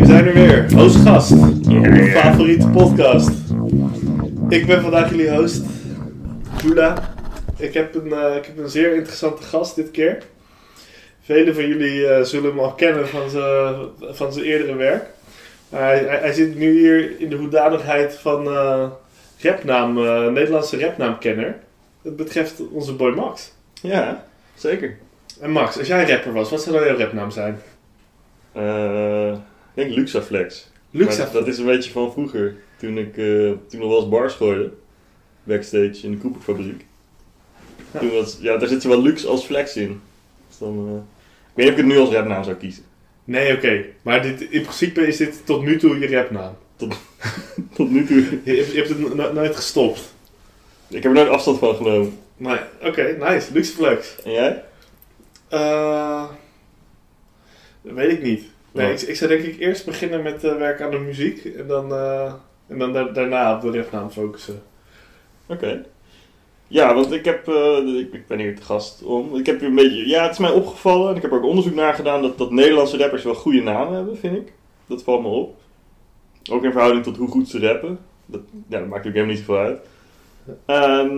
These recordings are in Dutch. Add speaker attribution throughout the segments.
Speaker 1: Weer als gast. Uw favoriete podcast. Ik ben vandaag jullie host, Jula. Ik heb een, eh, ik heb een zeer interessante gast dit keer. Velen van jullie eh, zullen hem al kennen van zijn van zijn eerdere werk. Maar hij, hij, hij zit nu hier in de hoedanigheid van eh, rapnaam, eh, Nederlandse rapnaamkenner. Dat betreft onze boy Max.
Speaker 2: Ja, zeker.
Speaker 1: En Max, als jij rapper was, wat zou dan jouw rapnaam zijn?
Speaker 2: Eh, ik denk Luxaflex.
Speaker 1: Luxa.
Speaker 2: Maar dat is een beetje van vroeger. Toen ik eh, toen nog wel eens bars gooide. Backstage in de Cooperfabriek.
Speaker 1: Ja.
Speaker 2: Toen was, ja, daar zit zowel luxe als flex in. Dus dan, eh, ik weet niet of ik het nu als rapnaam zou kiezen.
Speaker 1: Nee, oké. Maar dit, in principe is dit tot nu toe je rapnaam.
Speaker 2: Tot nu toe.
Speaker 1: Je, hebt- je hebt het no- no- nooit gestopt.
Speaker 2: Ik heb er nooit afstand van genomen.
Speaker 1: Maar oké, nice. Luxe flex.
Speaker 2: En jij?
Speaker 1: Eh, dat weet ik niet. Nee,
Speaker 2: Wat?
Speaker 1: ik, ik zou denk ik eerst beginnen met eh werken aan de muziek. En dan, eh, en dan daar- daarna op de rapnaam focussen.
Speaker 2: Oké. Ja, want ik heb, eh, ik, ik ben hier te gast om. Ik heb hier een beetje, ja, het is mij opgevallen en ik heb er ook onderzoek naar gedaan dat, dat Nederlandse rappers wel goede namen hebben, vind ik. Dat valt me op. Ook in verhouding tot hoe goed ze rappen. Dat, ja, dat maakt natuurlijk helemaal niet zoveel uit. Ehm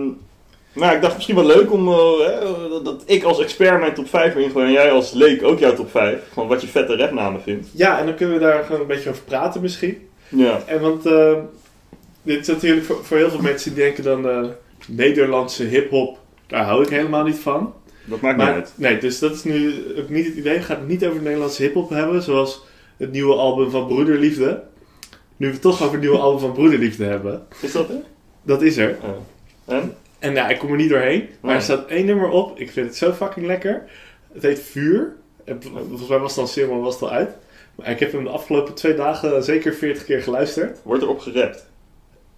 Speaker 2: maar ik dacht misschien wel leuk om, eh, hè, dat, dat ik als expert mijn top 5 ingooi en jij als leek ook jouw top 5. Van wat je vette rapnamen vindt.
Speaker 1: Ja, en dan kunnen we daar gewoon een beetje over praten misschien.
Speaker 2: Ja.
Speaker 1: En want eh, dit is natuurlijk voor, voor heel veel mensen die denken dan... eh, Nederlandse hiphop, daar hou ik helemaal niet van.
Speaker 2: Dat maakt niet
Speaker 1: Maar,
Speaker 2: uit.
Speaker 1: nee, dus dat is nu ook niet het idee. We gaan het niet over Nederlandse hip-hop hebben, zoals het nieuwe album van Broederliefde. Nu we het toch over het nieuwe album van Broederliefde hebben,
Speaker 2: Is dat hè?
Speaker 1: dat is er.
Speaker 2: Ja. En?
Speaker 1: En nou, ik kom er niet doorheen, maar er
Speaker 2: Nee.
Speaker 1: staat één nummer op. Ik vind het zo fucking lekker. Het heet Vuur. En v- Volgens mij was het al single, maar was het al uit. Maar ik heb hem de afgelopen twee dagen zeker 40 keer geluisterd.
Speaker 2: Wordt erop gerapt?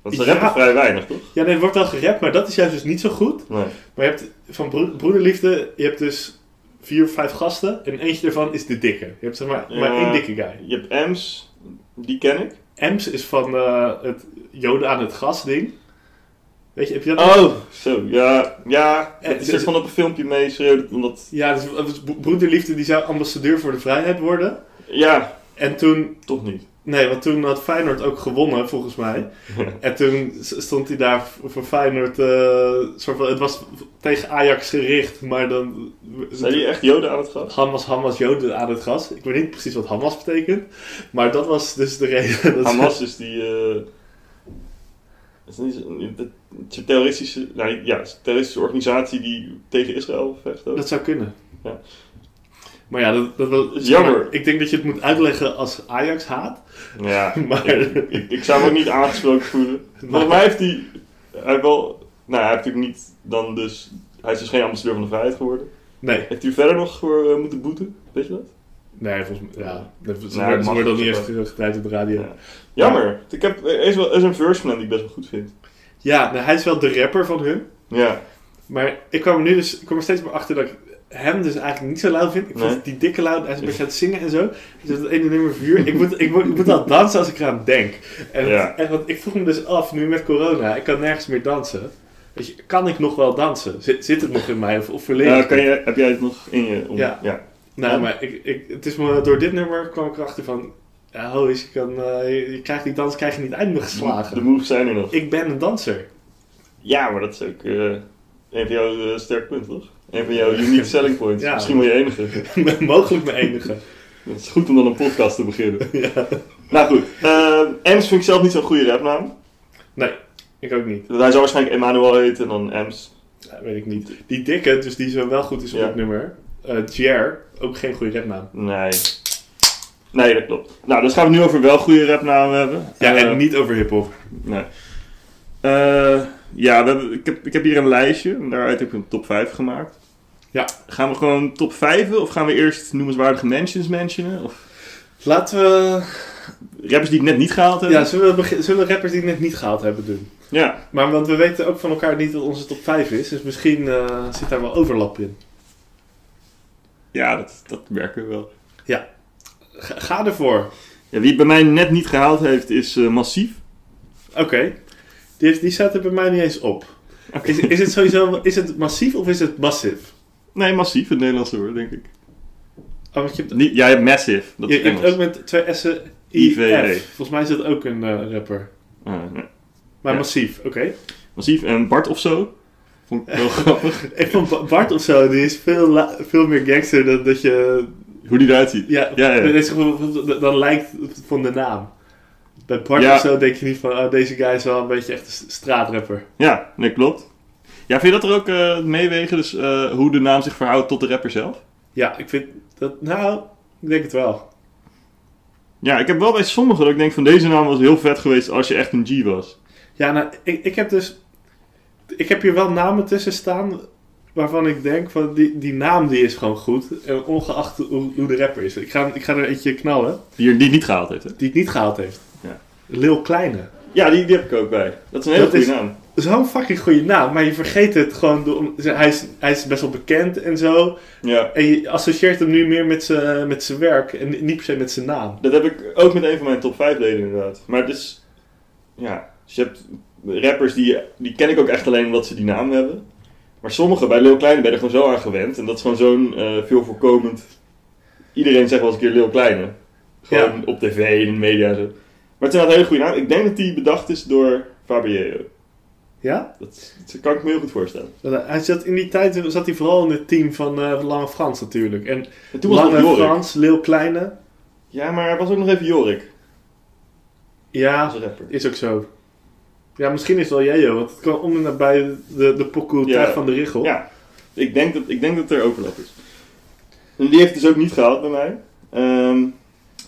Speaker 2: Want ze
Speaker 1: Ja.
Speaker 2: rappen vrij weinig, toch?
Speaker 1: Ja, nee, het wordt al gerapt, maar dat is juist dus niet zo goed.
Speaker 2: Nee.
Speaker 1: Maar je hebt van bro- Broederliefde, je hebt dus vier of vijf gasten. En eentje daarvan is de dikke. Je hebt zeg maar, maar
Speaker 2: Ja.
Speaker 1: één dikke guy.
Speaker 2: Je hebt Ems, die ken ik.
Speaker 1: Ems is van eh, het Joden aan het gas ding. Weet je, heb je dat?
Speaker 2: Oh, zo, ja, ja.
Speaker 1: Eh,
Speaker 2: Het is
Speaker 1: ze-
Speaker 2: er van op een filmpje mee schreeuwde, omdat,
Speaker 1: Ja, dus, dus Bro- broederliefde die zou ambassadeur voor de vrijheid worden.
Speaker 2: ja,
Speaker 1: En toen,
Speaker 2: toch niet.
Speaker 1: nee, want toen had Feyenoord ook gewonnen volgens mij. En toen s- stond hij daar v- voor Feyenoord, eh, soort van, het was tegen Ajax gericht, maar dan...
Speaker 2: Zijn die echt joden aan het gas?
Speaker 1: Hamas, Hamas, Joden aan het gas. Ik weet niet precies wat Hamas betekent, maar dat was dus de reden. dat ze-
Speaker 2: Hamas is die, eh, is niet zo- dat- het is een terroristische, nou ja, het is een terroristische organisatie die tegen Israël vecht ook.
Speaker 1: Dat zou kunnen.
Speaker 2: Ja.
Speaker 1: Maar ja, dat, dat wel-
Speaker 2: Is jammer.
Speaker 1: Ik denk dat je het moet uitleggen als Ajax haat.
Speaker 2: Ja,
Speaker 1: Maar-
Speaker 2: ik, ik, ik zou me ook niet aangesproken voelen.
Speaker 1: Maar-
Speaker 2: Volgens mij heeft hij, hij heeft wel, nou hij heeft natuurlijk niet dan dus, hij is dus geen ambassadeur van de vrijheid geworden.
Speaker 1: Nee,
Speaker 2: Heeft hij verder nog voor eh, moeten boeten, weet je dat?
Speaker 1: nee, volgens mij. Ja, dat- ze
Speaker 2: Nee,
Speaker 1: worden- ze
Speaker 2: mag
Speaker 1: worden al
Speaker 2: niet,
Speaker 1: niet echt
Speaker 2: maar-
Speaker 1: gedraaid op de radio. Ja,
Speaker 2: Ja. Jammer. Ik heb, er, is wel, er is een verse van hem die ik best wel goed vind.
Speaker 1: nou, hij is wel de rapper van hun.
Speaker 2: Ja.
Speaker 1: Maar ik kwam er nu dus, ik kwam er steeds meer achter dat ik hem dus eigenlijk niet zo luid vind. Ik
Speaker 2: Nee.
Speaker 1: vind die dikke luid, hij is een beetje aan het zingen en zo. Dus dat ene nummer vuur. Ik moet, ik, moet, ik moet al dansen als ik eraan denk. En,
Speaker 2: Ja.
Speaker 1: en want ik vroeg me dus af, nu met corona, ik kan nergens meer dansen. Weet je, kan ik nog wel dansen? Zit, zit het nog in mij of, of verleer
Speaker 2: Nou,
Speaker 1: ik
Speaker 2: kan je, heb jij het nog in je? Om,
Speaker 1: Ja. Nou, maar ik, ik, het is me, door dit nummer kwam ik erachter van... Ja, ho, is, je, kan, eh, je, je krijgt die dans, krijg je niet uit me
Speaker 2: De
Speaker 1: geslagen.
Speaker 2: moves zijn er nog.
Speaker 1: Ik ben een danser.
Speaker 2: Ja, maar dat is ook eh, een van jouw eh, sterkpunten, toch? Een van jouw unique selling points.
Speaker 1: Ja.
Speaker 2: Misschien wel je enige.
Speaker 1: Mogelijk mijn enige.
Speaker 2: Het is goed om dan een podcast te beginnen. Nou goed. Ehm, Ems vind ik zelf niet zo'n goede rapnaam.
Speaker 1: Ik ook niet.
Speaker 2: Hij zou waarschijnlijk Emmanuel heten en dan Ems.
Speaker 1: Ja, weet ik niet. Die dikke, dus die zo wel goed is op
Speaker 2: Ja.
Speaker 1: het nummer. eh Jer, ook geen goede rapnaam.
Speaker 2: Nee. Nee, dat klopt. Nou, dus gaan we het nu over wel goede rapnamen hebben.
Speaker 1: Ja,
Speaker 2: Eh,
Speaker 1: en niet over hiphop.
Speaker 2: Nee. Eh, ja, we hebben- ik, heb, ik heb hier een lijstje. En daaruit heb ik een top 5 gemaakt.
Speaker 1: Ja.
Speaker 2: Gaan we gewoon top 5 of gaan we eerst noemenswaardige mentions mentionen? Of
Speaker 1: Laten we... eh,
Speaker 2: rappers die ik net niet gehaald heb?
Speaker 1: Ja, zullen we, begin- zullen we rappers die het net niet gehaald hebben doen?
Speaker 2: Ja.
Speaker 1: Maar want we weten ook van elkaar niet wat onze top 5 is. Dus misschien eh, zit daar wel overlap in.
Speaker 2: Ja, dat, dat merken we wel.
Speaker 1: Ga, ga ervoor.
Speaker 2: Ja, wie het bij mij net niet gehaald heeft is eh, Massief.
Speaker 1: Oké. Die, heeft- die staat er bij mij niet eens op.
Speaker 2: Oké.
Speaker 1: Is, is het sowieso is het massief of is het massief?
Speaker 2: Nee, Massief, het Nederlandse woord, denk ik.
Speaker 1: Oh, want je hebt,
Speaker 2: Niet, ja, je hebt Massive. Dat
Speaker 1: je,
Speaker 2: is
Speaker 1: je hebt
Speaker 2: Engels. E.
Speaker 1: ook met twee S'en
Speaker 2: IVE.
Speaker 1: Volgens mij is dat ook een eh, rapper.
Speaker 2: Ah, nee.
Speaker 1: Maar
Speaker 2: Ja.
Speaker 1: massief, oké.
Speaker 2: Massief. En Bart of zo. Vond ik wel grappig.
Speaker 1: Ik vond Ba- Bart of zo, die is veel, la- veel meer gangster dan dat je.
Speaker 2: Hoe die eruit ziet.
Speaker 1: Ja,
Speaker 2: ja, ja.
Speaker 1: dat is gewoon- dat- dan lijkt het van de naam. Bij Bart
Speaker 2: Ja.
Speaker 1: of zo denk je niet van, oh, deze guy is wel een beetje echt een s- straatrapper.
Speaker 2: Ja, nee, klopt. Ja, vind je dat er ook eh, meewegen? Dus eh, hoe de naam zich verhoudt tot de rapper zelf?
Speaker 1: Ja, ik vind dat, nou, ik denk het wel.
Speaker 2: Ja, ik heb wel bij sommigen dat ik denk van deze naam was heel vet geweest als je echt een G was.
Speaker 1: Ja, nou, ik, ik heb dus. Ik heb hier wel namen tussen staan waarvan ik denk van die, die naam die is gewoon goed. En ongeacht hoe, hoe de rapper is. Ik ga, ik ga er eentje knallen
Speaker 2: Die, die het niet gehaald heeft, hè?
Speaker 1: die het niet gehaald heeft.
Speaker 2: Ja.
Speaker 1: Lil Kleine.
Speaker 2: Ja, die, die heb ik ook bij. Dat is een hele
Speaker 1: Dat
Speaker 2: goede
Speaker 1: is-
Speaker 2: naam.
Speaker 1: Zo'n fucking goede naam, maar je vergeet het gewoon. Door, om- hij, is, hij is best wel bekend en zo.
Speaker 2: Ja.
Speaker 1: En je associeert hem nu meer met zijn met zijn werk en ni- niet per se met zijn naam.
Speaker 2: Dat heb ik ook met een van mijn top 5 leden inderdaad. Maar het is... Ja, dus je hebt rappers die, die ken ik ook echt alleen omdat ze die naam hebben. Maar sommige, bij Lil Kleine ben je er gewoon zo aan gewend. En dat is gewoon zo'n eh, veel voorkomend... Iedereen zegt wel eens een keer Lil Kleine. Gewoon
Speaker 1: Ja.
Speaker 2: op tv en in de media en zo. Maar het is inderdaad een hele goede naam. Ik denk dat die bedacht is door Fabier.
Speaker 1: Ja?
Speaker 2: Dat, dat kan ik me heel goed voorstellen.
Speaker 1: Want Hij zat in die tijd zat hij vooral in het team van eh, Lange Frans natuurlijk. En
Speaker 2: En toen was het
Speaker 1: Lange
Speaker 2: nog Jorik.
Speaker 1: Frans, Leeuw Kleine.
Speaker 2: Ja, maar hij was ook nog even Jorik. Als
Speaker 1: Ja,
Speaker 2: rapper.
Speaker 1: is ook zo. Ja, misschien is het wel jij, joh, want het kwam om en nabij de, de pokoe
Speaker 2: Ja.
Speaker 1: Tijd van de Richel.
Speaker 2: Ja, ik denk dat, ik denk dat er overlap is. En die heeft dus ook niet gehaald bij mij. Ehm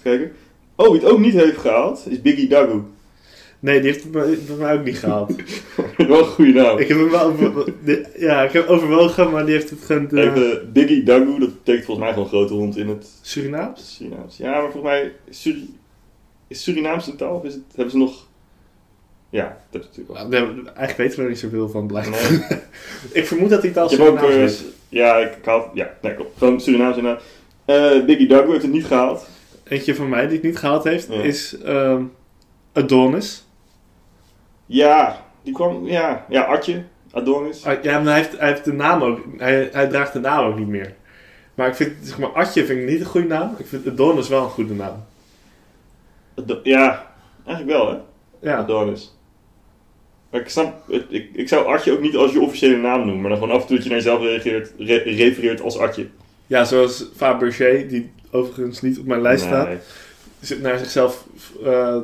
Speaker 2: kijken. Oh, wie het ook niet heeft gehaald is Biggie Dagu.
Speaker 1: Nee, die heeft het bij bij mij ook niet gehaald.
Speaker 2: Oh. Wel een goede naam.
Speaker 1: ik heb hem wel over- de- ja, ik heb hem overwogen, maar die heeft het gewoon... eh,
Speaker 2: Even Biggie Dagu, dat betekent volgens mij gewoon grote hond in het
Speaker 1: Surinaams?
Speaker 2: Surinaams. Ja, maar volgens mij is, Suri- is Surinaams een taal of is het, hebben ze nog... Ja, dat is natuurlijk wel.
Speaker 1: Nou, nee, eigenlijk weten we er niet zoveel van, blijkbaar.
Speaker 2: Nee.
Speaker 1: ik vermoed dat hij taal
Speaker 2: Je hebt ook,
Speaker 1: Surinaams
Speaker 2: eh,
Speaker 1: is.
Speaker 2: ja, ik haal, ja, nee, klopt. Gewoon Surinaams inderdaad. Eh, Biggie Dagu heeft het niet gehaald.
Speaker 1: Eentje van mij die het niet gehaald heeft,
Speaker 2: Ja.
Speaker 1: is ehm, Adonis.
Speaker 2: Ja, die kwam, ja, ja, Atje, Adonis.
Speaker 1: Ah, ja, maar hij heeft, hij heeft de naam ook, hij, hij draagt de naam ook niet meer. Maar ik vind, zeg maar, Atje vind ik niet een goede naam. Ik vind Adonis wel een goede naam.
Speaker 2: Ado- Ja, eigenlijk wel, hè?
Speaker 1: Ja,
Speaker 2: Adonis. Maar ik snap, het- ik, ik zou Artje ook niet als je officiële naam noemen, maar dan gewoon af en toe dat je naar jezelf reageert, re- refereert als Artje.
Speaker 1: ja zoals Fabergé, die overigens niet op mijn lijst staat,
Speaker 2: Nee.
Speaker 1: zit naar zichzelf eh,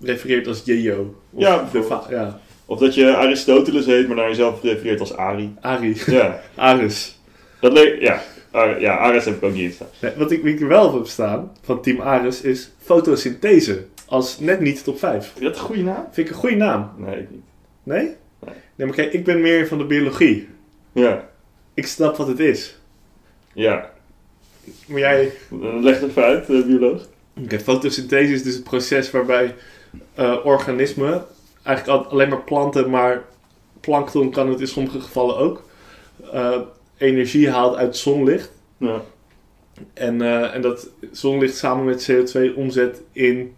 Speaker 1: refereert als Jejo. Of
Speaker 2: Ja,
Speaker 1: de
Speaker 2: bijvoorbeeld.
Speaker 1: va- ja,
Speaker 2: Of dat je Aristoteles heet, maar naar jezelf refereert als Ari.
Speaker 1: Ari,
Speaker 2: Ja,
Speaker 1: Aris.
Speaker 2: dat leek, ja. Ar- ja, Ares heb ik ook niet in staan.
Speaker 1: Nee, wat ik, wie ik er wel op heb staan, van Team Aris, is fotosynthese. Als net niet top 5.
Speaker 2: Is dat een goede naam?
Speaker 1: Vind ik een goede naam.
Speaker 2: Nee, ik niet.
Speaker 1: Nee?
Speaker 2: Nee.
Speaker 1: Nee, maar kijk, ik ben meer van de biologie.
Speaker 2: Ja,
Speaker 1: Ik snap wat het is.
Speaker 2: ja.
Speaker 1: Maar jij...
Speaker 2: Dan Leg het even uit, eh, bioloog.
Speaker 1: Oké, fotosynthese is dus het proces waarbij eh, organismen... Eigenlijk al- alleen maar planten, maar plankton kan het in sommige gevallen ook... eh, energie haalt uit zonlicht.
Speaker 2: Ja.
Speaker 1: En, eh, en dat zonlicht samen met CO2 omzet in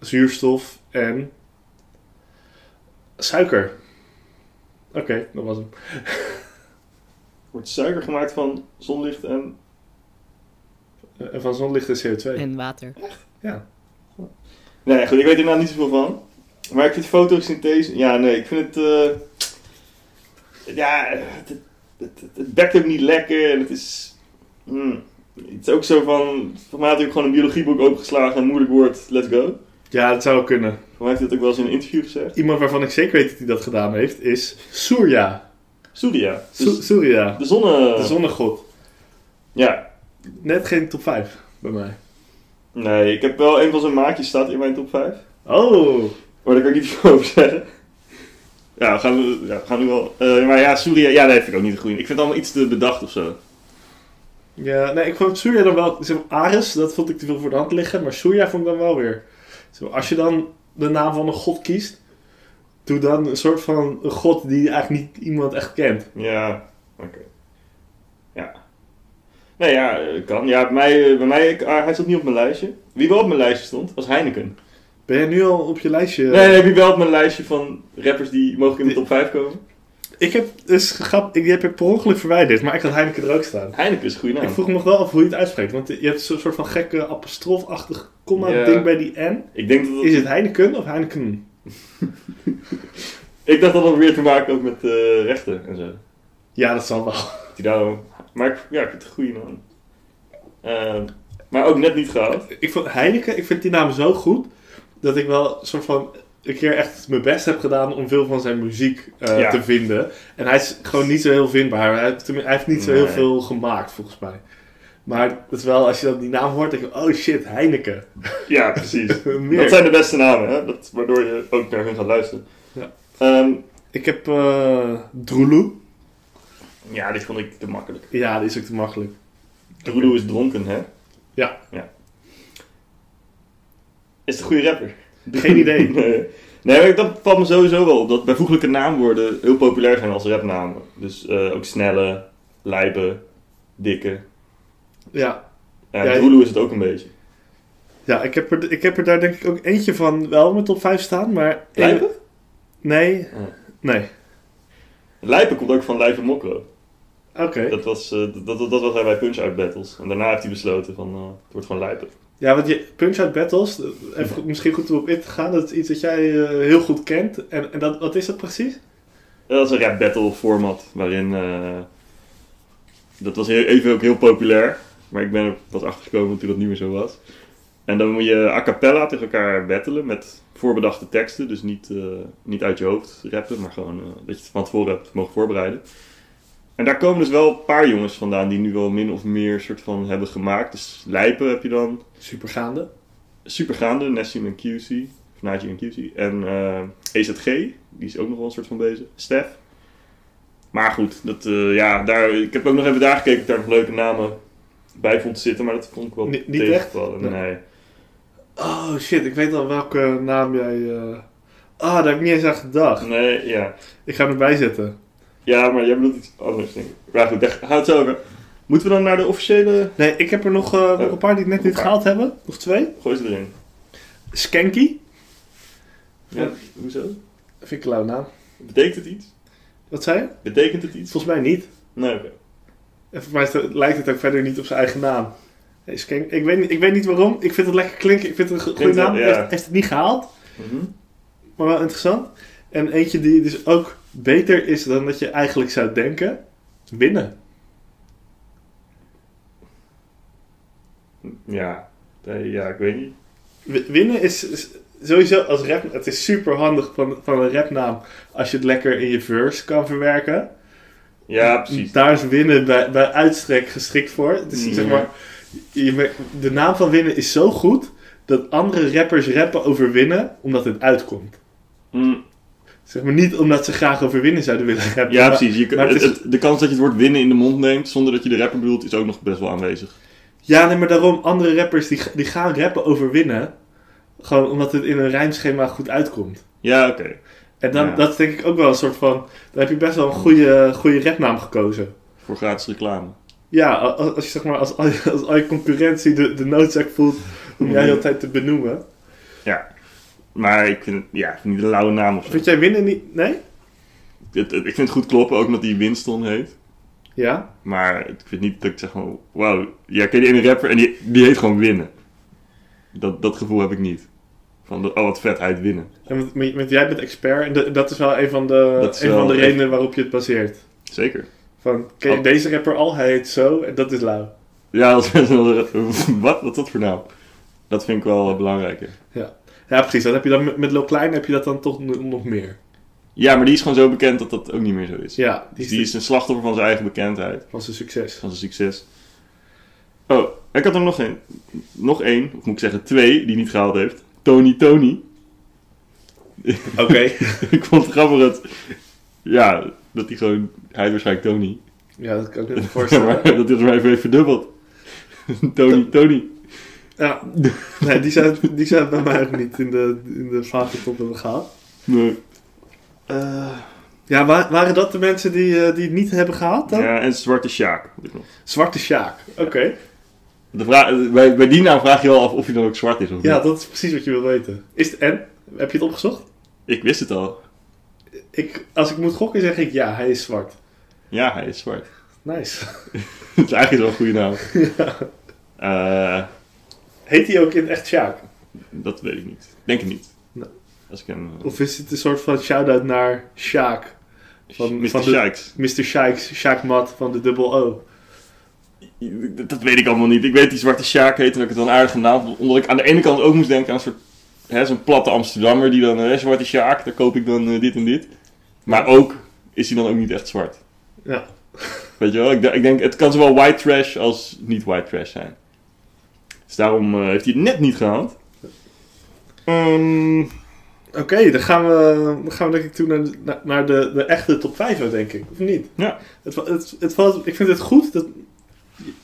Speaker 1: zuurstof en suiker. Oké, dat was hem.
Speaker 2: Wordt suiker gemaakt van zonlicht en...
Speaker 1: Eh, En van zonlicht en CO2.
Speaker 3: En water.
Speaker 1: Ja.
Speaker 2: Nee, goed, ik weet er nou niet zoveel van. Maar ik vind fotosynthese... Ja, nee, ik vind het... eh, ja, het, het, het, het bekt ook niet lekker en het is... mm, het is ook zo van... Voor mij had ik gewoon een biologieboek opengeslagen en moeilijk woord, let's go.
Speaker 1: Ja, dat zou kunnen.
Speaker 2: Voor mij heeft dat ook wel eens in een interview gezegd.
Speaker 1: Iemand waarvan ik zeker weet dat hij dat gedaan heeft, is Surya.
Speaker 2: Surya.
Speaker 1: Su-
Speaker 2: Dus
Speaker 1: Surya,
Speaker 2: de zonne...
Speaker 1: de zonnegod.
Speaker 2: Ja.
Speaker 1: Net geen top 5 bij mij.
Speaker 2: Nee, ik heb wel een van zijn maatjes staat in mijn top 5.
Speaker 1: Oh,
Speaker 2: Maar daar kan ik niet veel over zeggen. Ja, we gaan, nu- ja, we gaan nu wel... eh, maar ja, Surya... Ja, nee, vind ik ook niet een goeie. Ik vind het allemaal iets te bedacht of zo.
Speaker 1: ja, nee, ik vond Surya dan wel... Zeg maar, Ares, dat vond ik te veel voor de hand liggen, maar Surya vond ik dan wel weer... Zo, als je dan de naam van een god kiest, doe dan een soort van een god die eigenlijk niet iemand echt kent.
Speaker 2: Ja, oké. Ja. Nee, ja, eh, kan. Ja, bij mij, eh, bij mij ik, ah, hij stond niet op mijn lijstje. Wie wel op mijn lijstje stond, was Heineken.
Speaker 1: Ben jij nu al op je lijstje?
Speaker 2: Nee, nee, wie wel op mijn lijstje van rappers die mogelijk in de
Speaker 1: Die-
Speaker 2: top 5 komen.
Speaker 1: Ik heb dus grap, ik die heb ik per ongeluk verwijderd, maar ik had Heineken er ook staan.
Speaker 2: Heineken is een goede
Speaker 1: Ik
Speaker 2: naam.
Speaker 1: vroeg me nog wel af hoe je het uitspreekt, want je hebt zo'n soort van gekke apostrofachtig komma
Speaker 2: Ja.
Speaker 1: ding bij die N.
Speaker 2: Ik denk dat dat...
Speaker 1: Is het Heineken of Heineken?
Speaker 2: Ik dacht dat dat weer te maken had met eh, rechten en zo.
Speaker 1: Ja, dat zal wel.
Speaker 2: Dat Die daarom... Maar ik, ja, ik vind het een goede naam. Eh, maar ook net niet gehaald.
Speaker 1: Ik vond Heineken, ik vind die naam zo goed dat ik wel een soort van een keer echt mijn best heb gedaan om veel van zijn muziek eh,
Speaker 2: Ja.
Speaker 1: te vinden. En hij is gewoon niet zo heel vindbaar. Hij, heeft- hij heeft niet zo heel
Speaker 2: Nee.
Speaker 1: veel gemaakt volgens mij. Maar het is wel, als je dan die naam hoort, denk je, oh shit, Heineken.
Speaker 2: Ja, precies.
Speaker 1: Meer.
Speaker 2: Dat zijn de beste namen, hè? Dat, waardoor je ook naar hun gaat luisteren.
Speaker 1: Ja.
Speaker 2: Ehm,
Speaker 1: Ik heb eh Droeloe.
Speaker 2: ja, die vond ik te makkelijk.
Speaker 1: Ja, die is ook te makkelijk.
Speaker 2: Droeloe is dronken, hè?
Speaker 1: Ja.
Speaker 2: ja. Is het een goede rapper?
Speaker 1: Geen idee.
Speaker 2: nee, nee maar dat valt me sowieso wel op. Dat bijvoeglijke naamwoorden heel populair zijn als rapnamen. Dus eh, ook snelle, lijpe, dikke.
Speaker 1: Ja.
Speaker 2: Ja,
Speaker 1: Ja,
Speaker 2: Droeloe is het ook een beetje.
Speaker 1: Ja, ik heb, er, ik heb er daar denk ik ook eentje van wel in mijn top 5 staan, maar...
Speaker 2: Lijpe?
Speaker 1: Nee.
Speaker 2: Oh.
Speaker 1: Nee.
Speaker 2: Lijpe komt ook van Lijpe Mokro.
Speaker 1: Oké.
Speaker 2: Dat was, eh, dat, dat, dat was hij bij Punch-Out Battles. En daarna heeft hij besloten van, eh, het wordt gewoon Lijpe.
Speaker 1: Ja, want je Punch-Out Battles, eh, even, goed- misschien goed om op in te gaan, dat is iets dat jij eh, heel goed kent. En, en dat, wat is dat precies?
Speaker 2: Ja, Dat is een rap battle format waarin. eh, dat was heel, even ook heel populair. Maar ik ben er pas achter gekomen toen dat niet meer zo was. En dan moet je a cappella tegen elkaar battelen met voorbedachte teksten. Dus niet, eh, niet uit je hoofd rappen, maar gewoon eh, dat je het van tevoren hebt mogen voorbereiden. En daar komen dus wel een paar jongens vandaan die nu wel min of meer soort van hebben gemaakt. Dus Lijpen heb je dan.
Speaker 1: Supergaande.
Speaker 2: Supergaande, Nessim en QC. Of Najee en QC. En eh EZG, die is ook nog wel een soort van bezig. Stef. Maar goed, dat, eh, ja, daar, ik heb ook nog even daar gekeken of ik daar nog leuke namen bij vond zitten. Maar dat vond ik wel
Speaker 1: Ni- niet
Speaker 2: tegenvallen.
Speaker 1: echt? Nee.
Speaker 2: Nee.
Speaker 1: Oh shit, ik weet al welke naam jij... eh, Ah, daar heb ik niet eens aan gedacht.
Speaker 2: Nee, ja.
Speaker 1: Ik ga hem erbij zetten.
Speaker 2: Ja, maar jij bedoelt iets anders, denk ik. Maar goed, daar gaat het zo over. Moeten we dan naar de officiële...
Speaker 1: Nee, ik heb er nog, eh, nog een paar die het net niet
Speaker 2: Een paar.
Speaker 1: gehaald hebben. Nog twee.
Speaker 2: Gooi ze erin.
Speaker 1: Skanky.
Speaker 2: Ja, hoezo?
Speaker 1: Vind ik een lauwe naam.
Speaker 2: Betekent het iets?
Speaker 1: Wat zei je?
Speaker 2: Betekent het iets?
Speaker 1: Volgens mij niet.
Speaker 2: Nee, oké.
Speaker 1: En voor mij is het- lijkt het ook verder niet op zijn eigen naam. Nee, Skank, ik, weet, niet- ik weet niet waarom. Ik vind het lekker klinken. Ik vind het een go- goede
Speaker 2: Klinkt wel,
Speaker 1: naam.
Speaker 2: ja.
Speaker 1: Hij heeft- heeft het niet gehaald.
Speaker 2: Mhm.
Speaker 1: Maar wel interessant. En eentje die dus ook beter is dan dat je eigenlijk zou denken. Winnen.
Speaker 2: Ja. Nee, ja, ik weet niet.
Speaker 1: W- winnen is, is sowieso als rap... Het is super handig van, van een rapnaam als je het lekker in je verse kan verwerken.
Speaker 2: Ja, precies. Mm.
Speaker 1: Daar is winnen bij, bij uitstrek geschikt voor. Dus
Speaker 2: Ja.
Speaker 1: zeg maar, je mer- de naam van winnen is zo goed dat andere rappers rappen over winnen omdat het uitkomt.
Speaker 2: Mm.
Speaker 1: Zeg maar niet omdat ze graag over winnen zouden willen rappen.
Speaker 2: Ja,
Speaker 1: maar-
Speaker 2: precies. Je,
Speaker 1: maar
Speaker 2: het,
Speaker 1: het is-
Speaker 2: het- de kans dat je het woord winnen in de mond neemt zonder dat je de rapper bedoelt, is ook nog best wel aanwezig.
Speaker 1: Ja, nee, maar daarom, andere rappers die, die gaan rappen over winnen. Gewoon omdat het in een rijmschema goed uitkomt.
Speaker 2: Ja, oké.
Speaker 1: En dan,
Speaker 2: Ja.
Speaker 1: dat is denk ik ook wel een soort van... Dan heb je best wel een goede, goede rapnaam gekozen.
Speaker 2: Voor gratis reclame.
Speaker 1: Ja, a- als, als je zeg maar als, al je- als al je concurrentie de, de noodzaak voelt om jij de hele tijd te benoemen.
Speaker 2: Ja. Maar ik vind het ja, niet een lauwe naam of zo.
Speaker 1: Vind jij winnen niet... Nee?
Speaker 2: Het- het- ik vind het goed kloppen, ook omdat hij Winston heet.
Speaker 1: Ja?
Speaker 2: Maar ik vind niet dat ik zeg van, wauw, ja, ken je een rapper en die, die heet gewoon winnen. Dat, dat gevoel heb ik niet. Van, oh wat vet, hij heet winnen.
Speaker 1: En want, want- want jij bent expert en de- dat is wel een van de,
Speaker 2: Dat is
Speaker 1: een van
Speaker 2: wel
Speaker 1: de
Speaker 2: echt-
Speaker 1: redenen waarop je het baseert.
Speaker 2: Zeker.
Speaker 1: Van, ken je
Speaker 2: Oh.
Speaker 1: deze rapper al? Hij heet zo en dat is lauw.
Speaker 2: Ja, dat is wel- wat? Wat is dat voor naam? Dat vind ik wel eh, belangrijker.
Speaker 1: Ja, precies. Dat heb je dan met, met Lil Klein heb je dat dan toch n- nog meer.
Speaker 2: Ja, maar die is gewoon zo bekend dat dat ook niet meer zo is.
Speaker 1: Ja,
Speaker 2: Dus die is een slachtoffer van zijn eigen bekendheid.
Speaker 1: was een succes.
Speaker 2: van zijn succes. Oh, ik had er nog één. Nog één, of moet ik zeggen twee, die niet gehaald heeft. Tony Tony.
Speaker 1: Oké.
Speaker 2: ik vond het grappig dat... Ja, dat hij gewoon... Hij heet waarschijnlijk Tony.
Speaker 1: ja, dat kan ik me niet
Speaker 2: Ja, maar
Speaker 1: voorstellen.
Speaker 2: dat hij er even heeft verdubbeld. Tony Tony.
Speaker 1: ja. Nee, die zijn, die zijn bij mij ook niet in de, in de vraag top hebben gehaald. Eh,
Speaker 2: Nee.
Speaker 1: Ja, wa- waren dat de mensen die, eh, die het niet hebben gehaald dan?
Speaker 2: Ja, en Zwarte Sjaak. had ik nog.
Speaker 1: Zwarte Sjaak. Oké.
Speaker 2: De vraag, bij, bij die naam vraag je wel af of hij dan ook zwart is of
Speaker 1: Ja,
Speaker 2: niet.
Speaker 1: dat is precies wat je wil weten. Is het en? Heb je het opgezocht?
Speaker 2: Ik wist het al.
Speaker 1: Ik, als ik moet gokken zeg ik ja, hij is zwart.
Speaker 2: Ja, hij is zwart.
Speaker 1: Nice.
Speaker 2: Het is eigenlijk wel een goede naam. Eh...
Speaker 1: Heet hij ook in het echt Sjaak?
Speaker 2: Dat weet ik niet. Denk het niet.
Speaker 1: Nee.
Speaker 2: Als ik hem... eh,
Speaker 1: Nou. Of is het een soort van shout-out naar Sjaak? Van-
Speaker 2: Mr.
Speaker 1: van de-
Speaker 2: Shikes.
Speaker 1: Mr. Shikes, Sjaak Mat van de dubbel O.
Speaker 2: Dat- Dat weet ik allemaal niet. Ik weet die zwarte Sjaak heet en dat ik het dan aardig naam vond, Omdat ik aan de ene kant ook moest denken aan een soort... hè, Zo'n platte Amsterdammer die dan... eh, hè, zwarte Sjaak, daar koop ik dan eh, dit en dit. Maar ook is hij dan ook niet echt zwart.
Speaker 1: Ja.
Speaker 2: Weet je wel? Ik, d- ik denk, het kan zowel white trash als niet white trash zijn. Dus daarom eh, heeft hij het net niet gehaald. Ehm,
Speaker 1: Oké, dan gaan we, dan gaan we denk ik toe naar, de- naar- naar de, de echte top 5, denk ik. Of niet?
Speaker 2: Ja.
Speaker 1: Het, va- het, het valt, ik vind het goed dat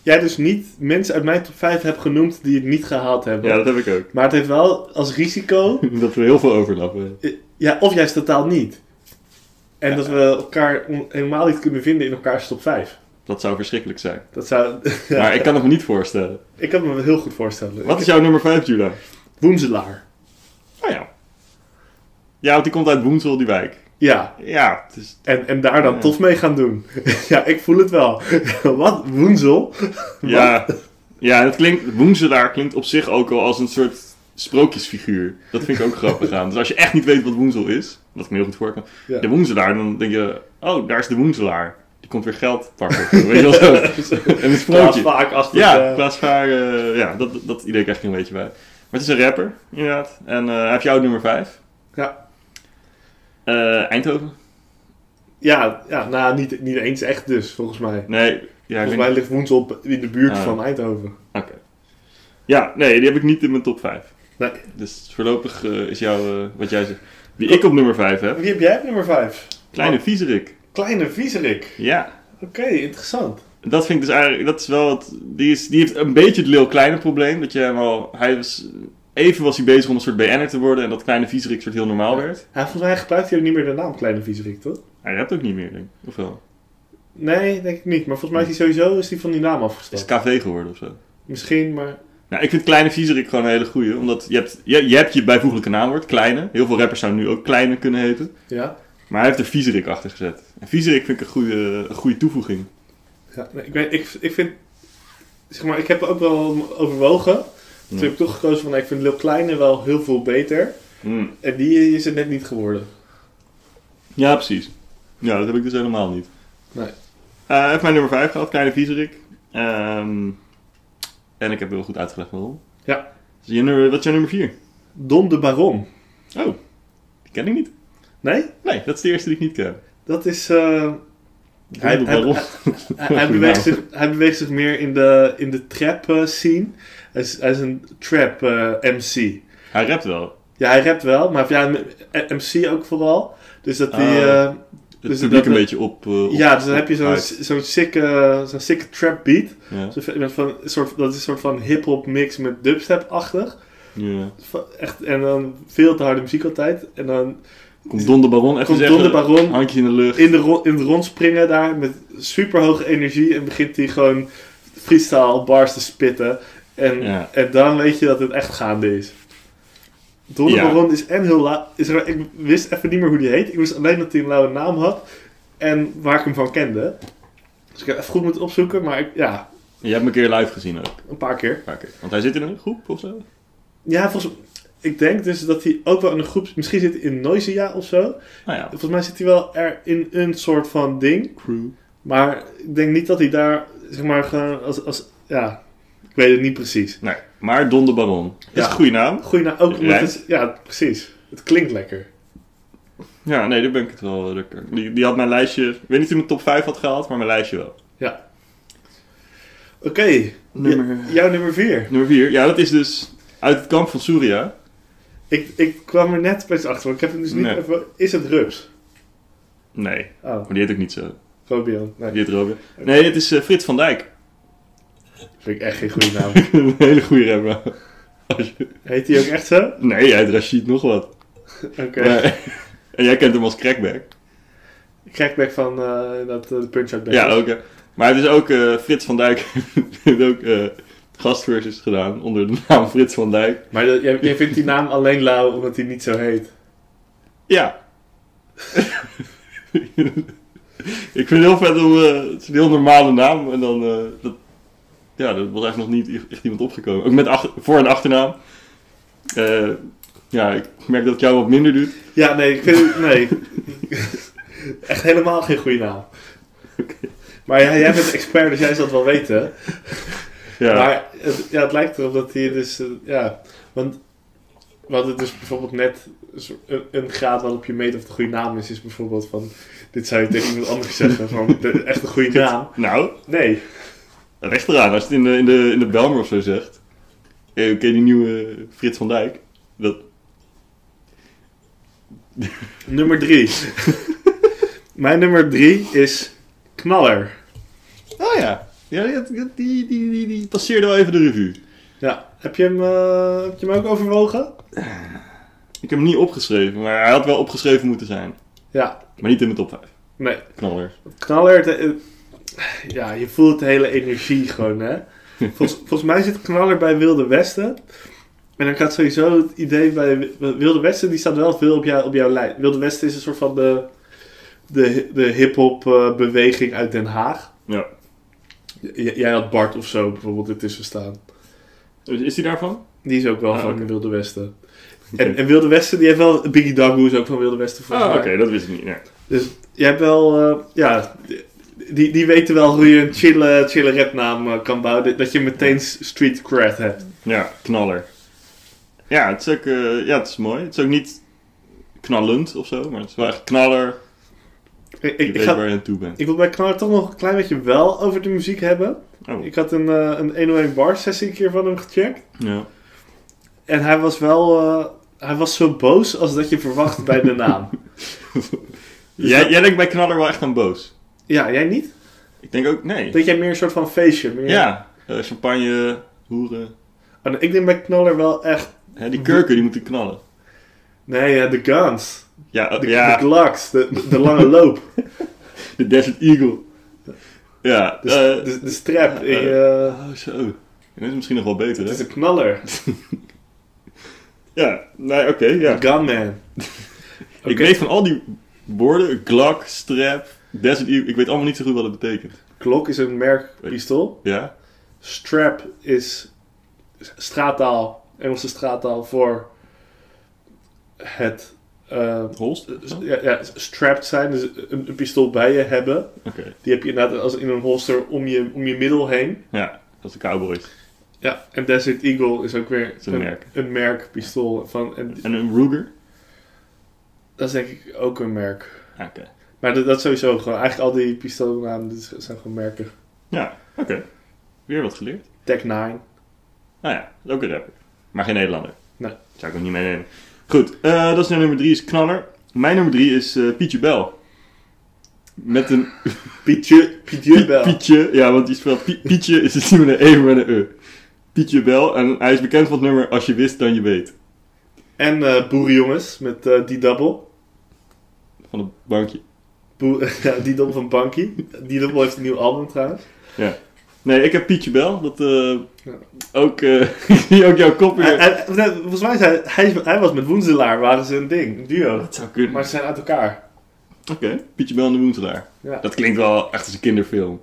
Speaker 1: jij dus niet mensen uit mijn top 5 hebt genoemd die het niet gehaald hebben.
Speaker 2: ja, dat heb ik ook.
Speaker 1: Maar het heeft wel als risico,
Speaker 2: Dat we heel veel overlappen.
Speaker 1: eh, ja, of juist totaal niet. En dat we elkaar on- helemaal niet kunnen vinden in elkaars top 5.
Speaker 2: Dat zou verschrikkelijk zijn.
Speaker 1: Dat zou, ja,
Speaker 2: Maar ik kan het me niet voorstellen.
Speaker 1: ik kan me wel heel goed voorstellen.
Speaker 2: Wat is jouw nummer 5, Jula?
Speaker 1: Woenselaar.
Speaker 2: Oh ja. Ja, want die komt uit Woensel, die wijk.
Speaker 1: Ja,
Speaker 2: Ja, dus het is...
Speaker 1: en, en daar dan
Speaker 2: Ja.
Speaker 1: tof mee gaan doen. ja, ik voel het wel. Wat? Woensel?
Speaker 2: Ja, ja het klinkt, Woenselaar klinkt op zich ook al als een soort sprookjesfiguur. Dat vind ik ook grappig aan. Dus als je echt niet weet wat Woensel is, wat ik me heel goed voor kan.
Speaker 1: Ja.
Speaker 2: De Woenselaar, dan denk je, oh, daar is de Woenselaar. Die komt weer geld pakken. Weet je wel zo. En een
Speaker 1: Klaas
Speaker 2: sprookje.
Speaker 1: vaak achter
Speaker 2: Ja,
Speaker 1: de-
Speaker 2: Klaas Vaar, eh, ja, dat, dat idee krijg ik een beetje bij. Maar het is een rapper, inderdaad. En eh, hij heeft jou nummer 5.
Speaker 1: Ja.
Speaker 2: Eh, Eindhoven?
Speaker 1: ja, ja, nou, niet, niet eens echt dus, volgens mij.
Speaker 2: Nee. Ja, ik
Speaker 1: volgens
Speaker 2: denk-
Speaker 1: mij ligt Woensel op- in de buurt
Speaker 2: Ah.
Speaker 1: van Eindhoven.
Speaker 2: Oké. Ja, nee, die heb ik niet in mijn top 5.
Speaker 1: Nee.
Speaker 2: Dus voorlopig eh, is jouw, eh, wat jij zegt, wie ik op nummer 5 heb.
Speaker 1: Wie heb jij op nummer 5?
Speaker 2: Kleine viezerik.
Speaker 1: Kleine Viezerik.
Speaker 2: Ja.
Speaker 1: Oké, interessant.
Speaker 2: Dat vind ik dus eigenlijk, dat is wel wat, die, is, die heeft een beetje het Leeuw Kleine probleem. Dat je hem al, hij was, even was hij bezig om een soort BN'er te worden en dat Kleine viezerik soort heel normaal werd.
Speaker 1: Ja, volgens mij gebruikt hij ook niet meer de naam Kleine Viezerik, toch?
Speaker 2: Hij rapt ook niet meer, denk ik. Of wel?
Speaker 1: Nee, denk ik niet. Maar volgens mij is hij sowieso is hij van die naam
Speaker 2: Is
Speaker 1: afgestapt.
Speaker 2: het KV geworden of zo?
Speaker 1: Misschien, maar...
Speaker 2: Nou, ik vind Kleine Viezerik gewoon een hele goeie. Omdat je hebt je, je, hebt je bijvoeglijke naamwoord, Kleine. Heel veel rappers zouden nu ook Kleine kunnen heten.
Speaker 1: Ja.
Speaker 2: Maar hij heeft er Viezerik achter gezet. En Viezerik vind ik een goede, een goede toevoeging.
Speaker 1: ja nee, ik, weet, ik, ik vind... Zeg maar, ik heb ook wel overwogen. Toen
Speaker 2: Ja.
Speaker 1: heb ik toch gekozen van, nee, ik vind Lil Kleine wel heel veel beter. En die is het net niet geworden.
Speaker 2: Ja, precies. Ja, dat heb ik dus helemaal niet.
Speaker 1: Nee.
Speaker 2: Eh, Hij heeft mijn nummer 5 gehad, Kleine Viezerik. Ehm, en ik heb heel goed uitgelegd waarom.
Speaker 1: Ja.
Speaker 2: Dus je nummer, wat is jouw nummer 4?
Speaker 1: Don de Baron.
Speaker 2: Oh, die ken ik niet.
Speaker 1: Nee?
Speaker 2: Nee, dat is de eerste die ik niet ken.
Speaker 1: Dat is... eh, Hij- hij-
Speaker 2: Waarom?
Speaker 1: hij, hij beweegt zich, hij beweegt zich meer in de, in de trap eh, scene. Hij is, hij is een trap eh, MC.
Speaker 2: Hij rapt wel.
Speaker 1: Ja, hij rapt wel, maar ja, m- MC ook vooral. Dus dat die...
Speaker 2: Ah.
Speaker 1: eh,
Speaker 2: Het
Speaker 1: Dus
Speaker 2: publiek
Speaker 1: dat-
Speaker 2: een beetje op... eh, op-
Speaker 1: ja, dus dan heb je zo'n
Speaker 2: op-
Speaker 1: zo'n sikke, zo'n sikke trap beat.
Speaker 2: Ja.
Speaker 1: Zo van- van, een soort, dat is een soort van hip-hop mix met dubstep-achtig.
Speaker 2: ja.
Speaker 1: Van- Echt, en dan veel te harde muziek altijd. En dan
Speaker 2: Komt Don de Baron even
Speaker 1: Komt
Speaker 2: zeggen.
Speaker 1: Don de Baron.
Speaker 2: Handjes in de lucht.
Speaker 1: in, de ro- in het rond springen daar met super hoge energie. En begint hij gewoon freestyle bars te spitten. En,
Speaker 2: Ja.
Speaker 1: en dan weet je dat het echt gaande is. Don de
Speaker 2: Ja.
Speaker 1: Baron is en heel laat. Is er, ik wist even niet meer hoe die heet. Ik wist alleen dat hij een lauwe naam had. En waar ik hem van kende. Dus ik heb even goed moeten opzoeken. Maar ik- ja,
Speaker 2: Je hebt hem een keer live gezien ook.
Speaker 1: een paar keer.
Speaker 2: Een paar keer. Want hij zit in een groep of zo.
Speaker 1: Ja, volgens Ik denk dus dat hij ook wel in een groep... Misschien zit hij in Noisia of zo.
Speaker 2: Nou ja.
Speaker 1: Volgens mij zit hij wel er in een soort van ding.
Speaker 2: Crew.
Speaker 1: Maar ik denk niet dat hij daar, zeg maar, gewoon als... als ja, ik weet het niet precies.
Speaker 2: Nee, maar Don de Baron. Dat is
Speaker 1: Ja.
Speaker 2: een goede naam.
Speaker 1: Goeie nou ook omdat
Speaker 2: Rijmt.
Speaker 1: het... Ja, precies. Het klinkt lekker.
Speaker 2: Ja, nee, daar ben ik het wel. daar kan- Die, die had mijn lijstje. Ik weet niet of hij mijn top 5 had gehaald, maar mijn lijstje wel.
Speaker 1: Ja. Oké.
Speaker 2: Nummer-
Speaker 1: j- jouw nummer 4.
Speaker 2: Nummer 4. Ja, dat is dus uit het kamp van Surya.
Speaker 1: Ik, ik kwam er net best achter, want ik heb hem dus niet...
Speaker 2: Nee.
Speaker 1: Even, is het Rups?
Speaker 2: Nee,
Speaker 1: Oh,
Speaker 2: maar die heet ook niet zo.
Speaker 1: Fabian. Nee,
Speaker 2: Die heet Robin. Nee, het is eh, Frits van Dijk.
Speaker 1: vind ik echt geen goede naam.
Speaker 2: een hele goede rapper. Als je-
Speaker 1: Heet hij ook echt zo?
Speaker 2: Nee, hij heet Rashid nog wat.
Speaker 1: Oké.
Speaker 2: Maar- en jij kent hem als crackback.
Speaker 1: Crackback van eh, dat eh, de Punch-Out Back
Speaker 2: Ja,
Speaker 1: is.
Speaker 2: ook. hè. Maar het is ook eh, Frits van Dijk. heeft ook eh gastversus gedaan onder de naam Frits van Dijk.
Speaker 1: Maar dat- jij, jij vindt die naam alleen lauw omdat hij niet zo heet.
Speaker 2: Ja. ik vind het heel vet om... eh, het is een heel normale naam. En dan... eh, dat, ja, er was eigenlijk nog niet echt iemand opgekomen. Ook met achter- voor- en achternaam. Eh, ja, ik merk dat het jou wat minder doet.
Speaker 1: Ja, nee, ik vind nee. Echt helemaal geen goede naam. Maar ja, jij bent expert, dus jij zal het wel weten.
Speaker 2: Ja,
Speaker 1: Maar het, ja, het lijkt erop dat hier dus... eh, ja, want we hadden dus bijvoorbeeld net een soort- een, een graad waarop je meet of het een goede naam is. Is bijvoorbeeld van, dit zou je tegen iemand anders zeggen. Van, de- echt een goede naam.
Speaker 2: nou,
Speaker 1: Nee.
Speaker 2: recht eraan. Als je het in de, in de, in de Belmer of zo zegt. Eh, Oké, die nieuwe Frits van Dijk. Dat,
Speaker 1: Nummer drie. Mijn nummer drie is knaller.
Speaker 2: oh ja, ja die, die, die, die, die passeerde wel even de revue.
Speaker 1: Ja, heb je hem, eh, heb je hem ook overwogen?
Speaker 2: Ik heb hem niet opgeschreven, maar hij had wel opgeschreven moeten zijn.
Speaker 1: Ja,
Speaker 2: Maar niet in de top 5.
Speaker 1: nee.
Speaker 2: Knaller.
Speaker 1: Knaller, de- eh, ja, je voelt de hele energie gewoon, hè. Volgens, volgens mij zit Knaller bij Wilde Westen. En dan had sowieso het idee bij Wi- Wilde Westen, die staat wel veel op, jou, op jouw lijn. Wilde Westen is een soort van de, de, de hip-hop eh, beweging uit Den Haag.
Speaker 2: Ja.
Speaker 1: J- jij had Bart of zo bijvoorbeeld ertussen staan.
Speaker 2: Is is die daarvan?
Speaker 1: Die is ook wel
Speaker 2: Ah,
Speaker 1: van
Speaker 2: oké.
Speaker 1: Wilde Westen.
Speaker 2: Oké.
Speaker 1: En, en Wilde Westen, die heeft wel. Biggie Dagoe is ook van Wilde Westen
Speaker 2: Ah,
Speaker 1: volgens
Speaker 2: oké,
Speaker 1: mij.
Speaker 2: dat wist ik niet. Ja.
Speaker 1: Dus je hebt wel, eh, ja, die, die weten wel hoe je een chille, chille rapnaam eh, kan bouwen. Dat je meteen s- street cred hebt.
Speaker 2: Ja, knaller. Ja, het is ook eh, ja, het is mooi. Het is ook niet knallend of zo, maar het is wel echt knaller.
Speaker 1: Ik,
Speaker 2: Je
Speaker 1: ik, ik,
Speaker 2: weet
Speaker 1: ga,
Speaker 2: waar je aan toe bent.
Speaker 1: ik wil bij Knaller toch nog een klein beetje wel over de muziek hebben.
Speaker 2: Oh,
Speaker 1: Ik had een, eh, een 101 bar sessie een keer van hem gecheckt.
Speaker 2: ja.
Speaker 1: En hij was wel, eh, hij was zo boos als dat je verwacht bij de naam.
Speaker 2: jij, jij denkt bij knaller wel echt aan boos.
Speaker 1: Ja, jij niet?
Speaker 2: Ik denk ook, nee.
Speaker 1: Denk jij meer een soort van feestje? Meer...
Speaker 2: Ja, eh, champagne, hoeren.
Speaker 1: Oh, nee, ik denk bij Knaller wel echt,
Speaker 2: Hè, die kurken, die moeten knallen.
Speaker 1: nee, ja, de guns.
Speaker 2: Ja, oh,
Speaker 1: De,
Speaker 2: ja
Speaker 1: de glocks, de, de, de lange loop.
Speaker 2: de Desert Eagle. Ja,
Speaker 1: De,
Speaker 2: eh,
Speaker 1: de, de strap. in je-
Speaker 2: oh, zo. Dat is misschien nog wel beter,
Speaker 1: Het is
Speaker 2: hè?
Speaker 1: een knaller.
Speaker 2: Ja, nee, oké, ja.
Speaker 1: Gunman. Oké.
Speaker 2: Ik weet van al die woorden, Glock, Strap, Desert Eagle, ik weet allemaal niet zo goed wat het betekent.
Speaker 1: Klok is een merk pistool.
Speaker 2: Ja?
Speaker 1: Strap is straattaal, Engelse straattaal voor het eh,
Speaker 2: Holst?
Speaker 1: s-
Speaker 2: Oh,
Speaker 1: ja, ja, strapped zijn, dus een, een pistool bij je hebben.
Speaker 2: Oké,
Speaker 1: Die heb je inderdaad als in een holster om je, om je middel heen.
Speaker 2: ja, dat is de Cowboys.
Speaker 1: Ja, en Desert Eagle is ook weer
Speaker 2: is een merk.
Speaker 1: een merk pistool. Van, en
Speaker 2: En een Ruger?
Speaker 1: dat is denk ik ook een merk.
Speaker 2: Ah, Oké.
Speaker 1: Maar dat, dat sowieso gewoon. Eigenlijk al die pistoolnamen dit zijn gewoon merken.
Speaker 2: Ja, oké. Weer wat geleerd.
Speaker 1: Tech 9.
Speaker 2: Nou ja, dat is ook een rapper. Maar geen Nederlander.
Speaker 1: Nee.
Speaker 2: Zou ik ook niet meenemen. Goed, eh, dat is nou nummer drie, is Knaller. Mijn nummer drie is eh, Pietje Bel. Met een
Speaker 1: Pietje, Pietje Bel.
Speaker 2: Pietje, ja, want die speelt Pie- Pietje is het niet met een E, maar met een E. Pietje Bel, en hij is bekend van het nummer Als je wist, dan je weet.
Speaker 1: En eh Boerenjongens met eh D-Double.
Speaker 2: Van het bankje.
Speaker 1: Boer, ja, D-Double van Banky. D-Double heeft een nieuw album trouwens.
Speaker 2: Nee, ik heb Pietje Bel. Dat, eh,
Speaker 1: Ja.
Speaker 2: ook, eh, ik zie ook jouw kop
Speaker 1: Hij,
Speaker 2: weer.
Speaker 1: hij- nee, volgens mij is hij, hij, hij was met Woenselaar, waren ze een ding, een duo.
Speaker 2: Dat zou kunnen.
Speaker 1: Maar ze zijn uit elkaar.
Speaker 2: Oké, Pietje Bel en de Woenselaar.
Speaker 1: Ja.
Speaker 2: Dat klinkt wel echt als een kinderfilm.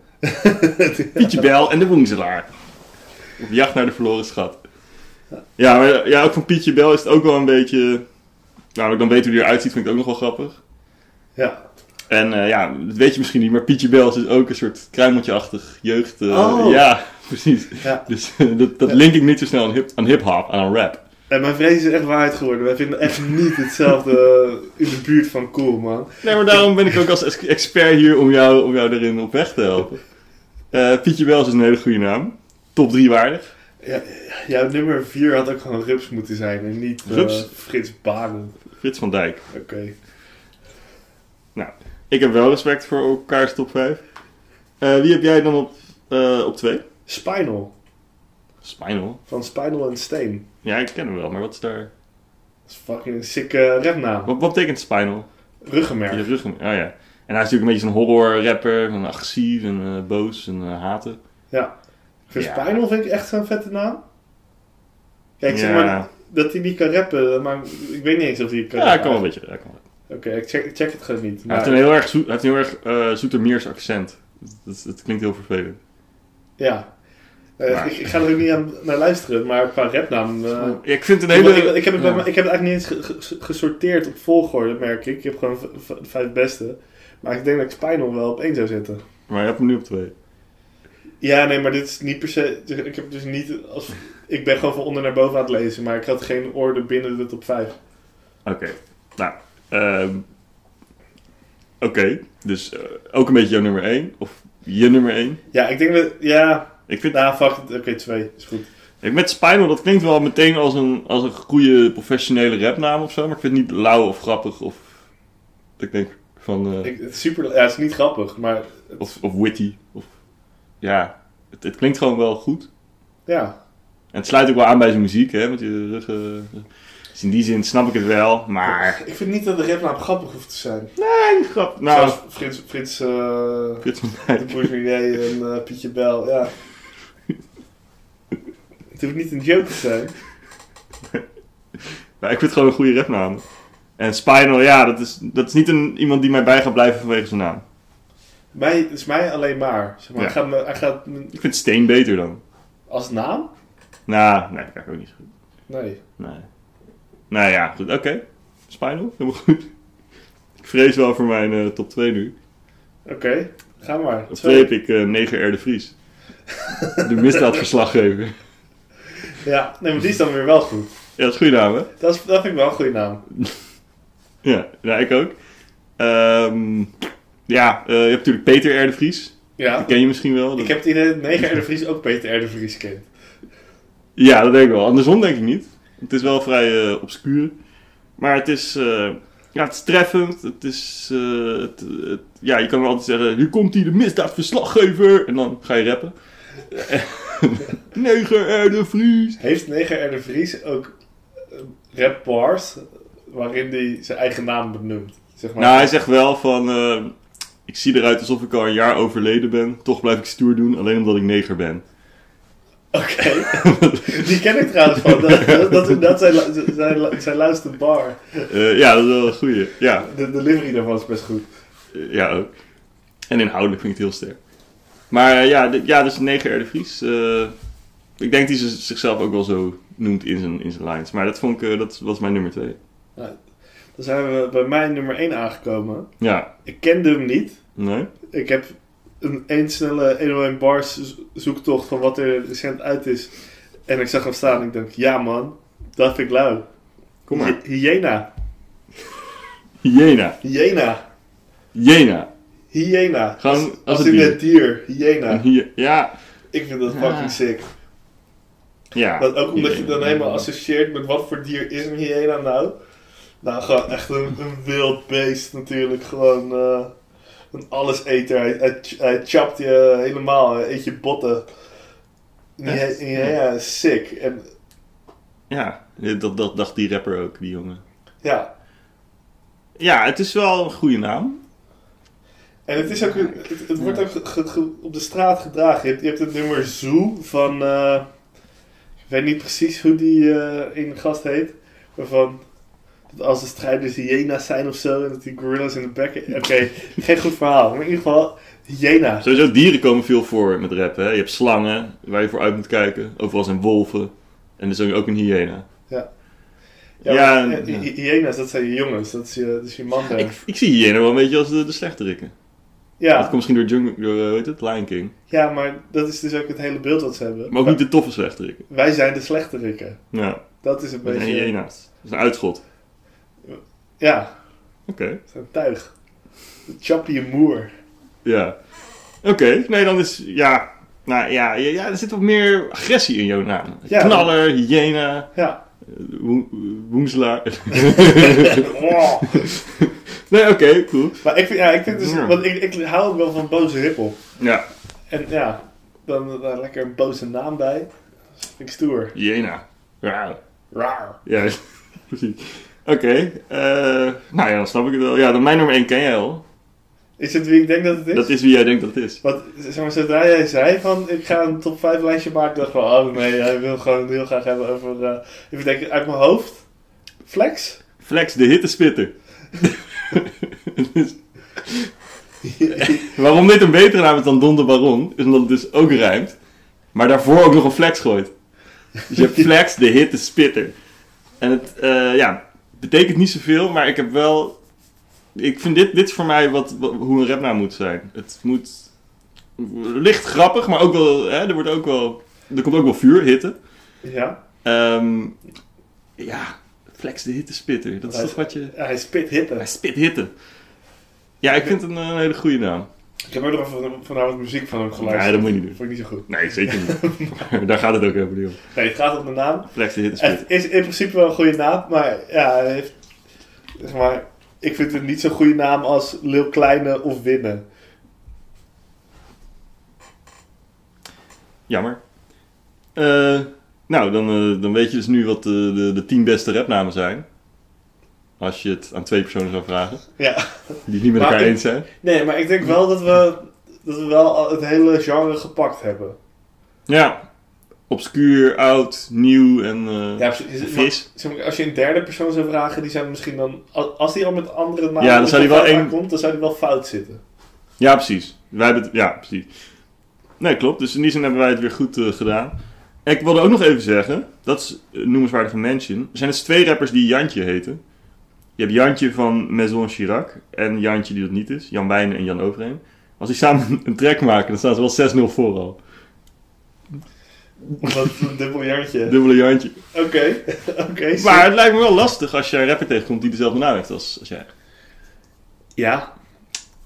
Speaker 2: Pietje Bel en de Woenselaar. Op jacht naar de verloren schat. Ja, maar, ja, ook van Pietje Bel is het ook wel een beetje... Nou, dan weten hoe hij eruit ziet, vind ik het ook nog wel grappig.
Speaker 1: Ja.
Speaker 2: En eh, ja, dat weet je misschien niet, maar Pietje Bels is dus ook een soort kruimeltje-achtig jeugd. eh,
Speaker 1: Oh.
Speaker 2: Ja, precies.
Speaker 1: Ja.
Speaker 2: Dus eh, dat, dat link ik niet zo snel aan hip- aan hip-hop, aan, aan rap.
Speaker 1: En mijn vrees is echt waarheid geworden. Wij vinden echt niet hetzelfde eh, in de buurt van cool, man.
Speaker 2: Nee, maar daarom ben ik ook als ex- expert hier om jou, om jou erin op weg te helpen. Eh, Pietje Bels is een hele goede naam. Top 3 waardig.
Speaker 1: Ja, jouw nummer 4 had ook gewoon Rups moeten zijn en niet eh,
Speaker 2: Rups?
Speaker 1: Frits Baren.
Speaker 2: Frits van Dijk.
Speaker 1: Oké.
Speaker 2: Ik heb wel respect voor elkaars top 5. Eh, wie heb jij dan op 2? op twee?
Speaker 1: Spinal.
Speaker 2: Spinal.
Speaker 1: Van Spinal en Steen.
Speaker 2: Ja, ik ken hem wel, maar wat is daar...
Speaker 1: Dat is fucking een sikke rapnaam.
Speaker 2: Wat, wat betekent Spinal? Je
Speaker 1: Ruggenmerk.
Speaker 2: rug hem- Oh ja. En hij is natuurlijk een beetje zo'n horror rapper. Een agressief en eh, boos en eh, haten.
Speaker 1: Ja. Chris
Speaker 2: Ja.
Speaker 1: Pijnel vind ik echt zo'n vette naam. Kijk, zeg
Speaker 2: Ja.
Speaker 1: maar dat hij niet kan rappen, maar ik weet niet eens of hij kan
Speaker 2: Ja, hij
Speaker 1: rappen.
Speaker 2: kan wel een beetje. hij kan wel.
Speaker 1: Oké, ik, check, ik check het gewoon niet.
Speaker 2: Hij heeft
Speaker 1: Maar,
Speaker 2: een heel erg, zoet, hij heeft een heel erg eh, Zoetermeers accent. Dat, dat klinkt heel vervelend.
Speaker 1: ja. Eh,
Speaker 2: Maar-
Speaker 1: ik, ik ga er ook niet aan, naar luisteren, maar qua rapnaam... eh,
Speaker 2: Ja, ik vind een
Speaker 1: ik,
Speaker 2: hele...
Speaker 1: ik, ik heb het bij
Speaker 2: Ja.
Speaker 1: me- ik heb het eigenlijk niet eens ge- ge- ge- gesorteerd op volgorde, merk ik. Ik heb gewoon v- v- de vijf beste. Maar ik denk dat ik Spinal wel op één zou zetten.
Speaker 2: Maar je hebt hem nu op twee.
Speaker 1: Ja, nee, maar dit is niet per se... Ik heb dus niet... Als, ik ben gewoon van onder naar boven aan het lezen, maar ik had geen orde binnen de top vijf.
Speaker 2: Oké. Nou, ehm, oké. Dus eh, ook een beetje jouw nummer 1. Of je nummer 1.
Speaker 1: Ja, ik denk dat... Ja,
Speaker 2: Ik vind
Speaker 1: nou, fuck it. Oké, twee. Is goed.
Speaker 2: ik met Spinal, dat klinkt wel meteen als een, als een goede professionele rapnaam of zo. Maar ik vind het niet lauw of grappig of... Ik denk van... eh,
Speaker 1: Ik, het is super... Ja, het is niet grappig, maar...
Speaker 2: of, of witty. Of, ja, het, het klinkt gewoon wel goed.
Speaker 1: Ja.
Speaker 2: En het sluit ook wel aan bij zijn muziek, hè. Met die rug... eh, dus in die zin snap ik het wel, maar...
Speaker 1: Ik vind niet dat de rapnaam grappig hoeft te zijn.
Speaker 2: Nee, grap. Nou,
Speaker 1: Zoals Frits... Frits eh,
Speaker 2: Frits van Dijk.
Speaker 1: De Boers Milieu en eh, Pietje Bel, ja. Het hoeft niet een joke te zijn.
Speaker 2: Ja, Nou, ik vind het gewoon een goede rapnaam. En Spinal, ja, dat is, dat is niet een, iemand die mij bij gaat blijven vanwege zijn naam.
Speaker 1: Mij, het is mij alleen maar. Zeg maar hij,
Speaker 2: Ja.
Speaker 1: gaat me, hij gaat me-
Speaker 2: Ik vind Steen beter dan.
Speaker 1: als naam?
Speaker 2: Nou, nee, dat krijg ik ook niet goed.
Speaker 1: Nee.
Speaker 2: Nee. Nou ja, goed, oké. Spinal, helemaal goed. Ik vrees wel voor mijn eh, top 2 nu.
Speaker 1: Oké, ga maar.
Speaker 2: Op 2
Speaker 1: Twee.
Speaker 2: heb ik eh Neger R. de Vries. De misdaadverslaggever.
Speaker 1: Ja, nee, maar die is dan weer wel goed.
Speaker 2: Ja, dat is een goede naam, hè?
Speaker 1: Dat, is, dat vind ik wel een goede naam.
Speaker 2: Ja, nou, ik ook. Ehm, ja, eh, je hebt natuurlijk Peter R. de Vries.
Speaker 1: Ja.
Speaker 2: Die ken je misschien wel. Dat-
Speaker 1: Ik heb het idee dat Neger R. de Vries ook Peter R. de Vries kent.
Speaker 2: Ja, dat denk ik wel. Andersom denk ik niet. Het is wel vrij eh, obscuur. Maar het is, eh, ja, het is treffend. Het is, eh, het, het- ja, je kan wel altijd zeggen, nu komt hij de misdaadverslaggever. En dan ga je rappen. Neger R. de Vries.
Speaker 1: Heeft Neger R. de Vries ook eh, rap bars waarin hij zijn eigen naam benoemt? Zeg maar.
Speaker 2: Nou, hij zegt wel van, eh, ik zie eruit alsof ik al een jaar overleden ben. Toch blijf ik stoer doen, alleen omdat ik neger ben.
Speaker 1: Oké. Die ken ik trouwens van. Dat, dat, dat, dat zijn, lu- zijn, lu- zijn luister bar.
Speaker 2: Eh, ja, dat is wel een goeie. Ja,
Speaker 1: De delivery daarvan is best goed.
Speaker 2: Eh, ja, ook. En inhoudelijk vind ik het heel sterk. Maar eh, ja, dit- ja, dus 9 R de Vries. eh, ik denk dat hij z- zichzelf ook wel zo noemt in zijn, in zijn lines. Maar dat, vond ik, eh, dat was mijn nummer 2.
Speaker 1: Nou, Dan zijn we bij mijn nummer 1 aangekomen.
Speaker 2: Ja,
Speaker 1: Ik kende hem niet.
Speaker 2: nee?
Speaker 1: Ik heb een, een snelle 101 bars zo- zoektocht van wat er recent uit is. En ik zag hem staan en ik dacht, ja man, dat vind ik lauw.
Speaker 2: Kom maar.
Speaker 1: Hy- Hyena.
Speaker 2: Hyena.
Speaker 1: Hyena.
Speaker 2: Jena.
Speaker 1: Hyena.
Speaker 2: Gewoon
Speaker 1: Als,
Speaker 2: als
Speaker 1: als
Speaker 2: het
Speaker 1: in
Speaker 2: dier. Mhm.
Speaker 1: het dier. Hyena.
Speaker 2: Ja.
Speaker 1: Ik vind dat
Speaker 2: Ja.
Speaker 1: fucking sick.
Speaker 2: ja.
Speaker 1: Dat ook omdat je dan
Speaker 2: Hyena.
Speaker 1: helemaal associeert met wat voor dier is een hyena nou? Nou, gewoon echt een, een wild beest natuurlijk. Gewoon eh, een alleseter. Hij, hij, hij chapt je helemaal. Hij eet je botten. Een hy-
Speaker 2: Echt?
Speaker 1: een hyena is sick. En
Speaker 2: Ja, dat, dat dacht die rapper ook, die jongen.
Speaker 1: ja,
Speaker 2: Ja, het is wel een goede naam.
Speaker 1: en het, is ook, een- het, het wordt ook ge- ge- ge- op de straat gedragen. Je hebt, je hebt het nummer Zoo van... eh, ik weet niet precies hoe die eh in gast heet. Maar van... Dat als de strijders hyena's zijn of zo. En dat die gorillas in de bekken... Oké, geen goed verhaal. Maar in ieder geval, hyena's.
Speaker 2: Sowieso, dieren komen veel voor met rappen. Hè? Je hebt slangen, waar je voor uit moet kijken. Overal zijn wolven. En er is ook een hyena.
Speaker 1: Ja.
Speaker 2: Ja,
Speaker 1: Ja, maar,
Speaker 2: en-
Speaker 1: eh, hy- hyena's, dat zijn je jongens, dat is je, dat is je man. daar.
Speaker 2: Ik, ik zie hyena wel een beetje als de, de slechterikken. Dat
Speaker 1: ja,
Speaker 2: komt misschien door, Jungle, door eh, hoe heet het? Lion King.
Speaker 1: ja, maar dat is dus ook het hele beeld wat ze hebben.
Speaker 2: Maar ook niet de toffe slechterikken.
Speaker 1: Wij zijn de slechterikken.
Speaker 2: Ja,
Speaker 1: Dat is een
Speaker 2: dat zijn
Speaker 1: beetje...
Speaker 2: hyena's. Dat is een uitschot.
Speaker 1: Ja,
Speaker 2: Oké,
Speaker 1: dat zijn tuig. Chappie je moer.
Speaker 2: ja. Oké, nee dan is, ja... Nou ja, ja, ja, er zit wat meer agressie in jouw naam.
Speaker 1: Ja.
Speaker 2: Knaller, hyena,
Speaker 1: Ja.
Speaker 2: eh, wo- woenselaar.
Speaker 1: Oh.
Speaker 2: nee, oké, cool.
Speaker 1: Maar ik vind, ja, ik vind dus...
Speaker 2: Ja.
Speaker 1: Want ik, ik hou ook wel van boze hippel.
Speaker 2: Ja,
Speaker 1: En ja, dan eh, daar lekker een boze naam bij. Dat vind ik stoer.
Speaker 2: hyena. Ja,
Speaker 1: Raar.
Speaker 2: ja precies. Oké, eh, nou ja, dan snap ik het wel. Ja, dan mijn nummer 1 ken jij al.
Speaker 1: Is het wie ik denk dat het is?
Speaker 2: Dat is wie jij denkt dat het is.
Speaker 1: Want zeg maar, zodra jij zei van ik ga een top 5 lijstje maken, dacht ik van oh nee, hij wil gewoon heel graag hebben over. eh, even denken, uit mijn hoofd. Flex?
Speaker 2: Flex de hittespitter. Dus waarom dit een betere naam is dan Don de Baron, is omdat het dus ook rijmt. Maar daarvoor ook nog een flex gooit. Dus je hebt flex, de hit, de spitter. En het eh, ja, betekent niet zoveel, maar ik heb wel. Ik vind dit, dit is voor mij wat, wat- hoe een rap nou moet zijn. Het moet licht grappig, maar ook wel. Hè, er, wordt ook wel er komt ook wel vuur, hitte.
Speaker 1: Ja,
Speaker 2: Ehm, ja, flex, de hitte, spitter. Dat is toch wat je.
Speaker 1: hij spit hitte.
Speaker 2: Hij spit hitte. Ja, ik vind het een, eh, hele goede naam.
Speaker 1: Ik heb ook nog van, vanavond muziek van hem geluisterd.
Speaker 2: Nee, dat moet je niet doen.
Speaker 1: Vond ik niet zo goed.
Speaker 2: Nee, zeker niet. Daar gaat het ook helemaal niet om.
Speaker 1: Nee, het gaat om de naam.
Speaker 2: Flex de hitte
Speaker 1: Het is in principe wel een goede naam, maar ja, hij heeft, zeg maar, ik vind het niet zo'n goede naam als Lil Kleine of Winnen.
Speaker 2: Jammer. Eh, nou, dan, eh, dan weet je dus nu wat de, de, de tien beste rapnamen zijn. Als je het aan twee personen zou vragen.
Speaker 1: Ja.
Speaker 2: Die het niet met
Speaker 1: Maar
Speaker 2: elkaar
Speaker 1: ik-
Speaker 2: eens zijn.
Speaker 1: Nee, maar ik denk wel dat we, dat we wel al het hele genre gepakt hebben.
Speaker 2: Ja. Obscuur, oud, nieuw en eh,
Speaker 1: Ja, precies. Is-
Speaker 2: vis.
Speaker 1: Zeg maar, als je een derde persoon zou vragen, die zou misschien dan, als als die al met andere namen
Speaker 2: Ja, dan zou die wel
Speaker 1: in
Speaker 2: één-
Speaker 1: komt, dan zou die wel fout zitten.
Speaker 2: Ja, precies. Wij hebben het, ja, precies. Nee, klopt. Dus in die zin hebben wij het weer goed eh, gedaan. En ik wilde ook nog even zeggen, dat is een noemenswaardige mention. Er zijn dus twee rappers die Jantje heten. Je hebt Jantje van Maison Chirac en Jantje die dat niet is. Jan Wijnen en Jan Overheem. Als die samen een track maken, dan staan ze wel 6-0 voor al.
Speaker 1: Dat is een dubbel jantje.
Speaker 2: Dubbele Jantje.
Speaker 1: Oké, oké.
Speaker 2: Maar het lijkt me wel lastig als je een rapper tegenkomt die dezelfde naam heeft als, als jij.
Speaker 1: Ja.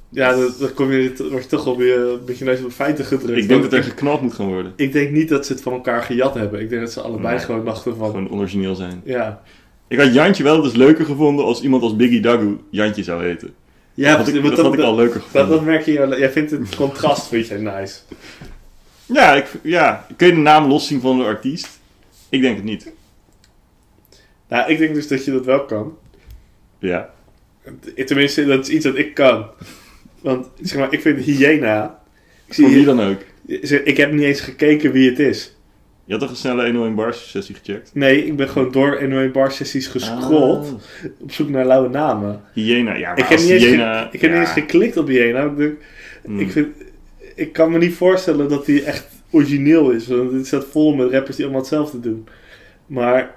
Speaker 1: Ja, dan, dan kom je, dan word je toch op je, een beetje neus op feiten gedrukt.
Speaker 2: Ik denk dat
Speaker 1: Want
Speaker 2: er geknald moet gaan worden.
Speaker 1: ik denk niet dat ze het van elkaar gejat hebben. Ik denk dat ze allebei
Speaker 2: Nee.
Speaker 1: gewoon dachten van...
Speaker 2: Gewoon origineel zijn.
Speaker 1: Ja,
Speaker 2: Ik had Jantje wel dus leuker gevonden als iemand als Biggie Dagu Jantje zou heten.
Speaker 1: ja
Speaker 2: dat had ik,
Speaker 1: want
Speaker 2: dat
Speaker 1: dat,
Speaker 2: had ik al leuker gevonden.
Speaker 1: dat, dat merk je. Jij vindt het contrast vind jij nice.
Speaker 2: Ja, ik, ja, kun je de naam loszien van de artiest? Ik denk het niet.
Speaker 1: Nou, ik denk dus dat je dat wel kan.
Speaker 2: Ja.
Speaker 1: Tenminste, dat is iets dat ik kan. Want zeg maar, ik vind Hyena... Ik,
Speaker 2: Voor wie
Speaker 1: zie,
Speaker 2: dan ook.
Speaker 1: zeg, ik heb niet eens gekeken wie het is.
Speaker 2: Je had toch een snelle 101 bars sessie gecheckt?
Speaker 1: Nee, ik ben gewoon door NOE Bar sessies gescrolld.
Speaker 2: Ah,
Speaker 1: Op zoek naar lauwe namen.
Speaker 2: Hyena, ja, maar
Speaker 1: Ik heb,
Speaker 2: als
Speaker 1: niet eens,
Speaker 2: Hyena...
Speaker 1: ge- ik heb
Speaker 2: ja.
Speaker 1: niet eens geklikt op Hyena. Ik, denk,
Speaker 2: Hmm.
Speaker 1: ik, vind, ik kan me niet voorstellen dat die echt origineel is. Want het staat vol met rappers die allemaal hetzelfde doen. Maar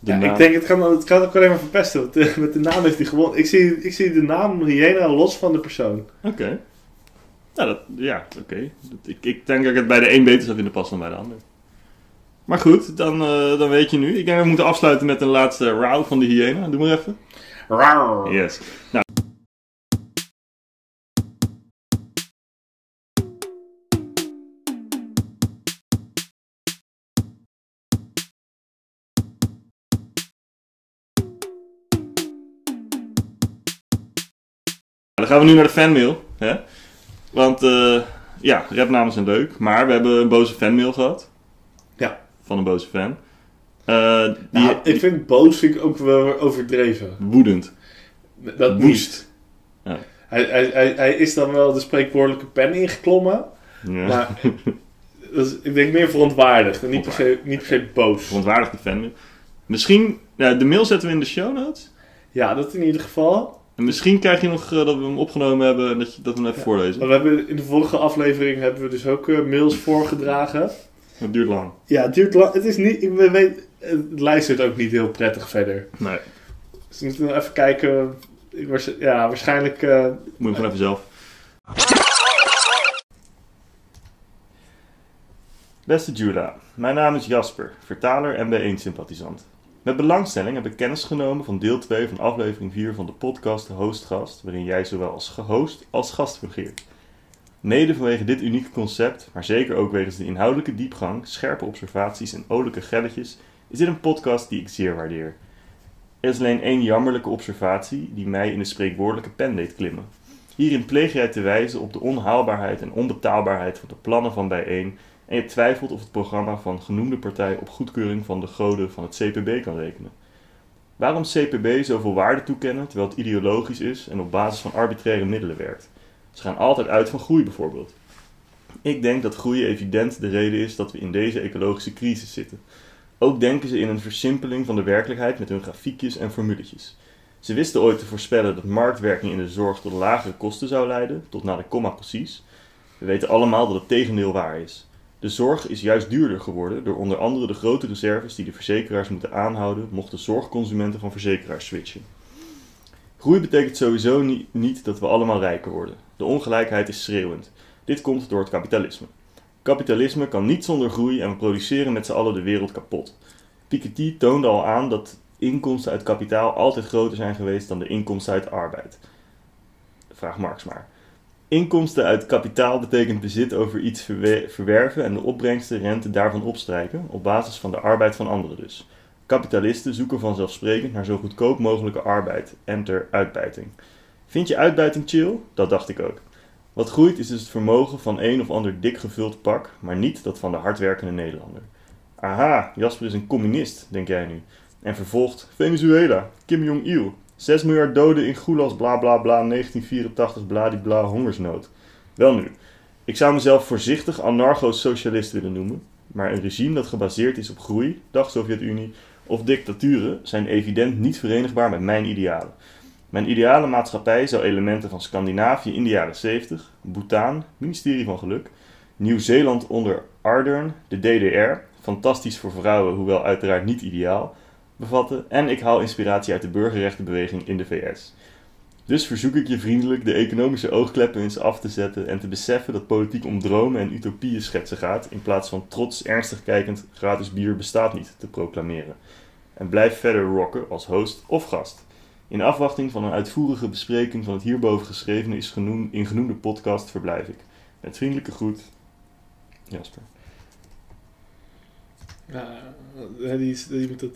Speaker 2: De
Speaker 1: ja,
Speaker 2: naam.
Speaker 1: ik denk, het kan, het kan ook alleen maar verpesten. Want eh, met de naam heeft hij gewonnen. Ik zie, ik zie de naam Hyena los van de persoon.
Speaker 2: Oké. Nou, dat, ja, oké. Dat- Ik, ik denk dat ik het bij de een beter zou vinden passen dan bij de ander. Maar goed, dan, eh, dan weet je nu. Ik denk dat we moeten afsluiten met een laatste row van de Hyena. Doe maar even. Yes. Nou. Dan gaan we nu naar de fanmail. Hè? Want eh, ja, rapnamen zijn leuk. Maar we hebben een boze fanmail gehad.
Speaker 1: Ja.
Speaker 2: Van een boze fan. Eh, die,
Speaker 1: Nou, ik vind boos vind ik ook wel overdreven.
Speaker 2: Woedend.
Speaker 1: Dat
Speaker 2: Woest.
Speaker 1: moest.
Speaker 2: Ja.
Speaker 1: Hij, hij, hij, hij is dan wel de spreekwoordelijke pen ingeklommen.
Speaker 2: Ja.
Speaker 1: Maar dat is, ik denk meer verontwaardigd en niet per se, niet per se boos.
Speaker 2: verontwaardigde fan. Misschien, ja, de mail zetten we in de show notes.
Speaker 1: Ja, dat in ieder geval.
Speaker 2: En misschien krijg je nog eh, dat we hem opgenomen hebben en dat, je, dat we hem even voorlezen.
Speaker 1: Maar we hebben, in de vorige aflevering hebben we dus ook eh, mails voorgedragen.
Speaker 2: Dat duurt lang.
Speaker 1: Ja, het duurt lang. Het is niet, ik weet, het luistert ook niet heel prettig verder.
Speaker 2: Nee,
Speaker 1: Dus we moeten nog even kijken. Ik was, ja, waarschijnlijk. eh,
Speaker 2: moet je hem gewoon even zelf. Beste Jula, mijn naam is Jasper, vertaler en bijeensympathisant. Met belangstelling heb ik kennis genomen van deel 2 van aflevering 4 van de podcast De Hoostgast, waarin jij zowel als gehost als gast fungeert. Mede vanwege dit unieke concept, maar zeker ook wegens de inhoudelijke diepgang, scherpe observaties en olijke gelletjes, is dit een podcast die ik zeer waardeer. Er is alleen één jammerlijke observatie die mij in de spreekwoordelijke pen deed klimmen. Hierin pleeg jij te wijzen op de onhaalbaarheid en onbetaalbaarheid van de plannen van bijeen en je twijfelt of het programma van genoemde partij op goedkeuring van de goden van het CPB kan rekenen. Waarom CPB zoveel waarde toekennen terwijl het ideologisch is en op basis van arbitraire middelen werkt? Ze gaan altijd uit van groei bijvoorbeeld. Ik denk dat groei evident de reden is dat we in deze ecologische crisis zitten. Ook denken ze in een versimpeling van de werkelijkheid met hun grafiekjes en formuletjes. Ze wisten ooit te voorspellen dat marktwerking in de zorg tot lagere kosten zou leiden, tot na de komma precies. We weten allemaal dat het tegendeel waar is. De zorg is juist duurder geworden door onder andere de grote reserves die de verzekeraars moeten aanhouden mochten zorgconsumenten van verzekeraars switchen. Groei betekent sowieso ni- niet dat we allemaal rijker worden. De ongelijkheid is schreeuwend. Dit komt door het kapitalisme. Kapitalisme kan niet zonder groei en we produceren met z'n allen de wereld kapot. Piketty toonde al aan dat inkomsten uit kapitaal altijd groter zijn geweest dan de inkomsten uit arbeid. Vraag Marx maar. Inkomsten uit kapitaal betekent bezit over iets verwe- verwerven en de opbrengsten, rente daarvan opstrijken, op basis van de arbeid van anderen dus. Kapitalisten zoeken vanzelfsprekend naar zo goedkoop mogelijke arbeid, enter uitbuiting. Vind je uitbuiting chill? Dat dacht ik ook. Wat groeit is dus het vermogen van een of ander dik gevuld pak, maar niet dat van de hardwerkende Nederlander. Aha, Jasper is een communist, denk jij nu. En vervolgt Venezuela, Kim Jong-il. 6 miljard doden in Gulas, bla bla bla, 1984, bladibla, hongersnood. Wel nu, ik zou mezelf voorzichtig anarcho-socialist willen noemen, maar een regime dat gebaseerd is op groei, dag Sovjet-Unie, of dictaturen zijn evident niet verenigbaar met mijn idealen. Mijn ideale maatschappij zou elementen van Scandinavië in de jaren 70, Bhutan, ministerie van Geluk, Nieuw-Zeeland onder Ardern, de DDR, fantastisch voor vrouwen, hoewel uiteraard niet ideaal, bevatten en ik haal inspiratie uit de burgerrechtenbeweging in de VS. Dus verzoek ik je vriendelijk de economische oogkleppen eens af te zetten en te beseffen dat politiek om dromen en utopieën schetsen gaat, in plaats van trots ernstig kijkend gratis bier bestaat niet te proclameren. En blijf verder rocken als host of gast. In afwachting van een uitvoerige bespreking van het hierboven geschrevene is genoemd, in genoemde podcast verblijf ik. Met vriendelijke groet, Jasper.
Speaker 1: Ja, eh, die, is- die moet dat...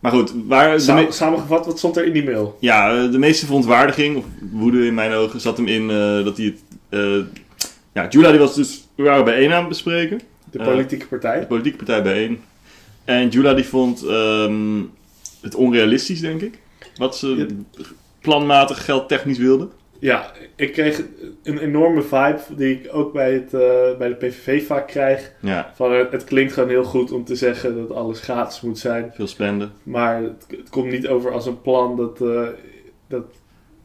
Speaker 2: Maar goed, waar
Speaker 1: Sa- Samengevat, wat stond er in die mail?
Speaker 2: Ja, eh, de meeste verontwaardiging, of woede in mijn ogen, zat hem in eh, dat hij het... eh, ja, Jula die was dus... We waren bijeen aan het bespreken.
Speaker 1: De
Speaker 2: Eh,
Speaker 1: politieke
Speaker 2: De
Speaker 1: partij.
Speaker 2: politieke partij bijeen. En Jula die vond ehm, het onrealistisch, denk ik. Wat ze planmatig geldtechnisch wilde.
Speaker 1: Ja, ik kreeg een enorme vibe die ik ook bij, het, eh, bij de PVV vaak krijg.
Speaker 2: Ja,
Speaker 1: Van, eh, het klinkt gewoon heel goed om te zeggen dat alles gratis moet zijn.
Speaker 2: veel spenden.
Speaker 1: Maar het, het komt niet over als een plan dat, eh, dat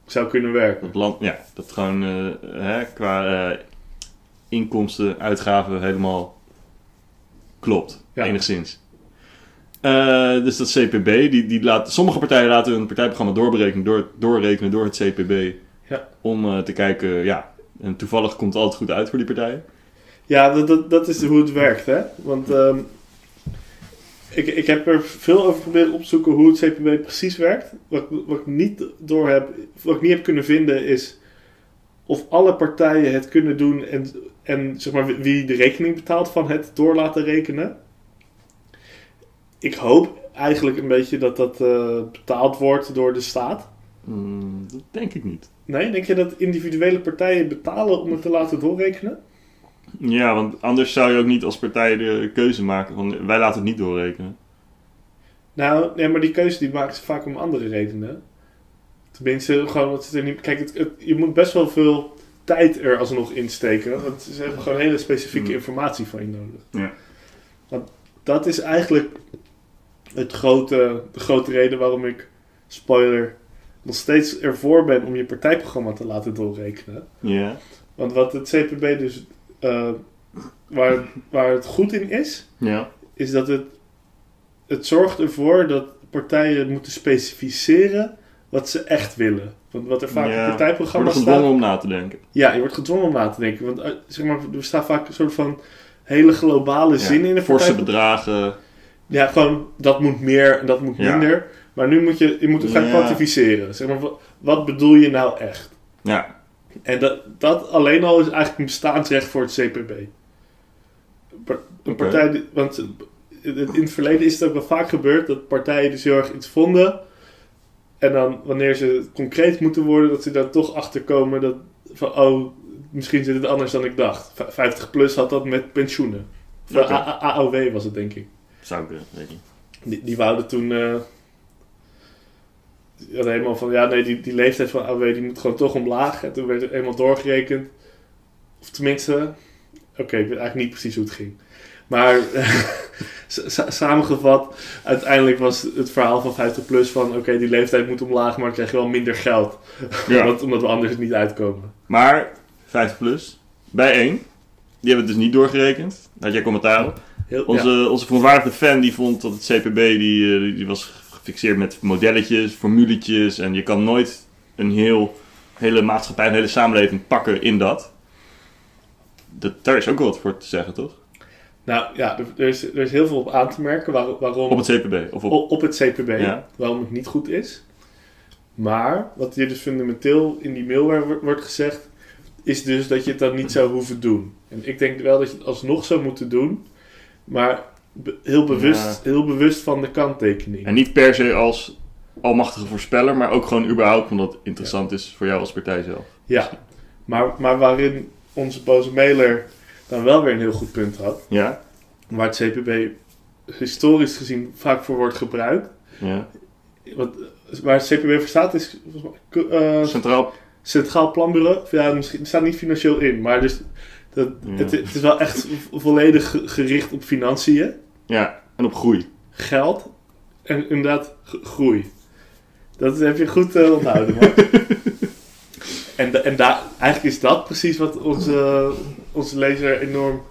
Speaker 1: zou kunnen werken.
Speaker 2: Dat land, ja, dat gewoon eh, hè, qua eh, inkomsten, uitgaven helemaal klopt.
Speaker 1: Ja.
Speaker 2: Enigszins. Eh, dus dat CPB, die, die laat, sommige partijen laten hun partijprogramma doorberekenen, door, doorrekenen door het CPB.
Speaker 1: Ja.
Speaker 2: Om eh, te kijken, ja, en toevallig komt het altijd goed uit voor die partijen.
Speaker 1: Ja, dat, dat, dat is hoe het werkt, hè? Want ehm, ik, ik heb er veel over proberen op te zoeken hoe het CPB precies werkt. Wat, ik- wat ik niet door heb, wat ik niet heb kunnen vinden, is of alle partijen het kunnen doen en, en zeg maar wie de rekening betaalt van het door laten rekenen. Ik hoop eigenlijk een beetje dat dat eh, betaald wordt door de staat.
Speaker 2: Hmm, dat denk ik niet.
Speaker 1: Nee, denk je dat individuele partijen betalen om het te laten doorrekenen?
Speaker 2: Ja, want anders zou je ook niet als partij de keuze maken van wij laten het niet doorrekenen.
Speaker 1: Nou, nee, maar die keuze die maken ze vaak om andere redenen. Tenminste, gewoon omdat ze er niet... Kijk, het, het- je moet best wel veel tijd er alsnog in steken. Want ze hebben gewoon hele specifieke
Speaker 2: Mm.
Speaker 1: informatie van je nodig.
Speaker 2: Ja.
Speaker 1: Want dat is eigenlijk het grote, de grote reden waarom ik, spoiler, nog steeds ervoor ben om je partijprogramma te laten doorrekenen.
Speaker 2: Ja,
Speaker 1: Want wat het CPB dus... eh, waar, waar het goed in is,
Speaker 2: ja,
Speaker 1: is dat het, het zorgt ervoor dat partijen moeten specificeren wat ze echt willen. Want wat er vaak
Speaker 2: Ja,
Speaker 1: in partijprogramma's
Speaker 2: worden
Speaker 1: staat...
Speaker 2: gedwongen om na te denken.
Speaker 1: Ja, je wordt gedwongen om na te denken. Want eh, zeg maar, er staat vaak een soort van hele globale zin in de
Speaker 2: Forse
Speaker 1: partij.
Speaker 2: bedragen.
Speaker 1: Ja, gewoon dat moet meer en dat moet
Speaker 2: Ja.
Speaker 1: minder. Maar nu moet je, je moet het gaan
Speaker 2: Ja.
Speaker 1: kwantificeren. Zeg maar, wa- wat bedoel je nou echt?
Speaker 2: Ja,
Speaker 1: En dat, dat alleen al is eigenlijk een bestaansrecht voor het CPB. Par- Een
Speaker 2: Oké.
Speaker 1: partij, die- want in het in het verleden is het ook wel vaak gebeurd dat partijen dus heel erg iets vonden. En dan wanneer ze concreet moeten worden, dat ze daar toch achter komen dat van oh, misschien zit het anders dan ik dacht. V- 50 plus had dat met pensioenen. Of
Speaker 2: Oké.
Speaker 1: A- A- AOW was het denk ik.
Speaker 2: zou kunnen, weet niet.
Speaker 1: Die, die wouden toen. eh, die hadden helemaal van. Ja, nee, die, die leeftijd van AW die moet gewoon toch omlaag. En toen werd het eenmaal doorgerekend. Of tenminste. Oké, ik weet eigenlijk niet precies hoe het ging. Maar sa- sa- samengevat, uiteindelijk was het verhaal van 50 plus van oké, die leeftijd moet omlaag, maar dan krijg je wel minder geld.
Speaker 2: Ja.
Speaker 1: omdat, omdat we anders niet uitkomen.
Speaker 2: Maar, 50 plus, bij 1, Die hebben het dus niet doorgerekend. Daar had jij commentaar op.
Speaker 1: Heel,
Speaker 2: Onze, onze voorwaardige fan die vond dat het CPB die, eh, die was gefixeerd met modelletjes, formuletjes. En je kan nooit een heel, hele maatschappij, een hele samenleving pakken in dat. dat daar is ook wel wat voor te zeggen, toch?
Speaker 1: Nou ja, er, er is, er is heel veel op aan te merken waar- waarom
Speaker 2: Op het CPB. Of op,
Speaker 1: op het CPB,
Speaker 2: Ja.
Speaker 1: waarom het niet goed is. Maar wat hier dus fundamenteel in die mailware wo- wordt gezegd, is dus dat je het dan niet zou hoeven doen. En ik denk wel dat je het alsnog zou moeten doen, maar be- heel, bewust,
Speaker 2: Ja.
Speaker 1: heel bewust van de kanttekening.
Speaker 2: En niet per se als almachtige voorspeller, maar ook gewoon überhaupt omdat het interessant is voor jou als partij zelf.
Speaker 1: Ja, maar, maar waarin onze boze mailer dan wel weer een heel goed punt had,
Speaker 2: Ja?
Speaker 1: waar het CPB historisch gezien vaak voor wordt gebruikt.
Speaker 2: Ja.
Speaker 1: Wat, waar het CPB voor staat is volgens mij, ku- eh,
Speaker 2: Centraal.
Speaker 1: Centraal Planbureau, of ja, misschien het staat niet financieel in, maar dus dat,
Speaker 2: Ja.
Speaker 1: het, het is wel echt vo- volledig ge- gericht op financiën,
Speaker 2: Ja. En op groei.
Speaker 1: geld en inderdaad g- groei. Dat heb je goed eh, onthouden, man. en da- en daar eigenlijk is dat precies wat onze, onze lezer enorm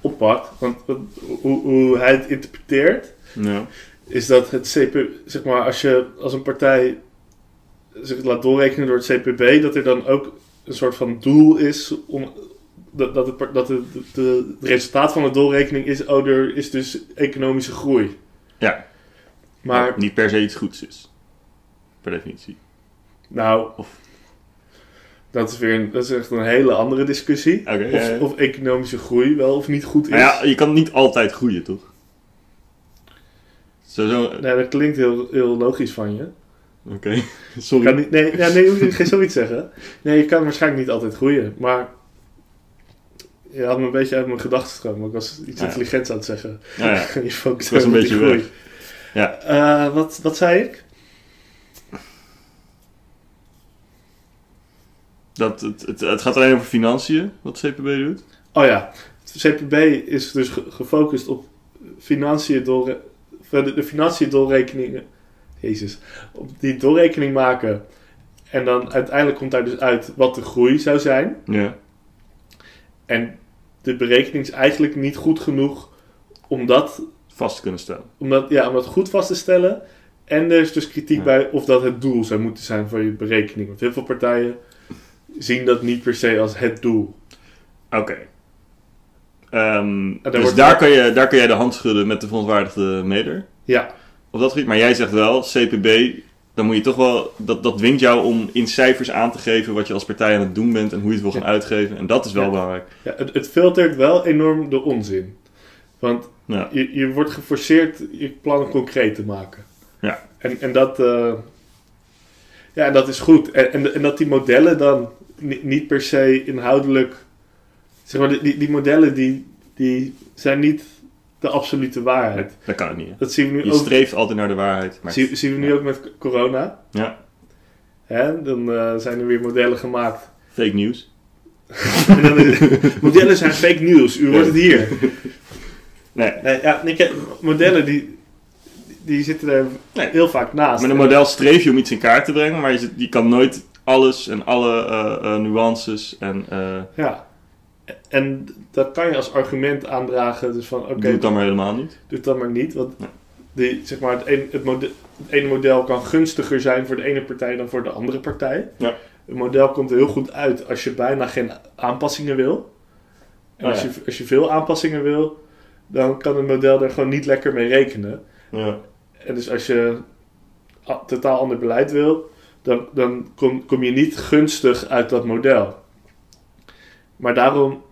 Speaker 1: oppakt. Want wat- hoe, hoe hij het interpreteert,
Speaker 2: Ja.
Speaker 1: is dat het CPB, zeg maar, als je als een partij zich laat doorrekenen door het CPB, dat er dan ook een soort van doel is om. Dat, dat, het, par- dat het, de, de- het resultaat van de doorrekening is, oh, er is dus economische groei.
Speaker 2: Ja.
Speaker 1: Maar,
Speaker 2: Niet per se iets goeds is. Per definitie.
Speaker 1: nou, dat is weer een, dat is echt een hele andere discussie.
Speaker 2: Oké,
Speaker 1: of,
Speaker 2: ja, ja.
Speaker 1: of economische groei wel of niet goed is.
Speaker 2: Maar ja, je kan niet altijd groeien, toch? Zo, zo. Oké.
Speaker 1: Nee, dat klinkt heel, heel logisch van je.
Speaker 2: Sorry.
Speaker 1: Kan niet, nee, ja, nee, je moet geen zoiets zeggen. Nee, je kan waarschijnlijk niet altijd groeien, maar... Je had me een beetje uit mijn gedachtenstroom. want Ik was iets
Speaker 2: Ja.
Speaker 1: intelligents aan het zeggen.
Speaker 2: Nou ja.
Speaker 1: je focust
Speaker 2: Ik was een
Speaker 1: op die
Speaker 2: beetje
Speaker 1: groei.
Speaker 2: Ja.
Speaker 1: Eh, wat, wat zei ik?
Speaker 2: Dat, het, het, het gaat alleen over financiën, wat CPB doet.
Speaker 1: Oh ja, het CPB is dus ge- gefocust op financiën door... of De, de financiën doorrekeningen... Jezus. Op die doorrekening maken. En dan uiteindelijk komt daar dus uit wat de groei zou zijn.
Speaker 2: Ja.
Speaker 1: En de berekening is eigenlijk niet goed genoeg om dat,
Speaker 2: Vast te kunnen stellen.
Speaker 1: om dat, ja, om dat goed vast te stellen. En er is dus kritiek
Speaker 2: Ja.
Speaker 1: bij of dat het doel zou moeten zijn van je berekening. Want heel veel partijen zien dat niet per se als het doel.
Speaker 2: Oké. Ehm,
Speaker 1: daar
Speaker 2: dus
Speaker 1: wordt-
Speaker 2: daar, kan je, daar kan jij de hand schudden met de verontwaardigde meder.
Speaker 1: Ja,
Speaker 2: Op dat gebied. Maar jij zegt wel, CPB, dan moet je toch wel. Dat, dat dwingt jou om in cijfers aan te geven wat je als partij aan het doen bent en hoe je het wil gaan uitgeven. En dat is wel
Speaker 1: Ja.
Speaker 2: belangrijk.
Speaker 1: ja het, het filtert wel enorm de onzin. Want
Speaker 2: Ja.
Speaker 1: je, je wordt geforceerd je plannen concreet te maken.
Speaker 2: Ja.
Speaker 1: En, en dat, eh, ja, en dat is goed. En, en, en dat die modellen dan ni- niet per se inhoudelijk. Zeg maar, die- die, die modellen die, die zijn niet de absolute waarheid.
Speaker 2: Dat kan het niet. hè.
Speaker 1: Dat zien we nu,
Speaker 2: Je
Speaker 1: ook,
Speaker 2: streeft altijd naar de waarheid. Maar
Speaker 1: zien, zien we nu ook met corona.
Speaker 2: Ja.
Speaker 1: Hè? Dan eh, zijn er weer modellen gemaakt.
Speaker 2: fake news.
Speaker 1: En dan is het, modellen zijn fake news, u wordt het hier.
Speaker 2: Nee,
Speaker 1: Nee, ja, ik heb- modellen die, die zitten er
Speaker 2: Nee.
Speaker 1: heel vaak naast.
Speaker 2: Met een model streef je om iets in kaart te brengen, maar je, zit- je kan nooit alles en alle eh, eh, nuances en eh
Speaker 1: Ja. En dat kan je als argument aandragen. Dus van, oké,
Speaker 2: doe het dan maar helemaal niet.
Speaker 1: doe het dan maar niet. Want
Speaker 2: Nee.
Speaker 1: die, zeg maar, het, een, het, mode- het ene model kan gunstiger zijn voor de ene partij dan voor de andere partij.
Speaker 2: Ja.
Speaker 1: Een model komt er heel goed uit als je bijna geen aanpassingen wil. En
Speaker 2: Oh,
Speaker 1: als,
Speaker 2: ja.
Speaker 1: je, als je veel aanpassingen wil, dan kan het model er gewoon niet lekker mee rekenen.
Speaker 2: Ja.
Speaker 1: En dus als je a- totaal ander beleid wil, dan, dan kom, kom je niet gunstig uit dat model. Maar daarom,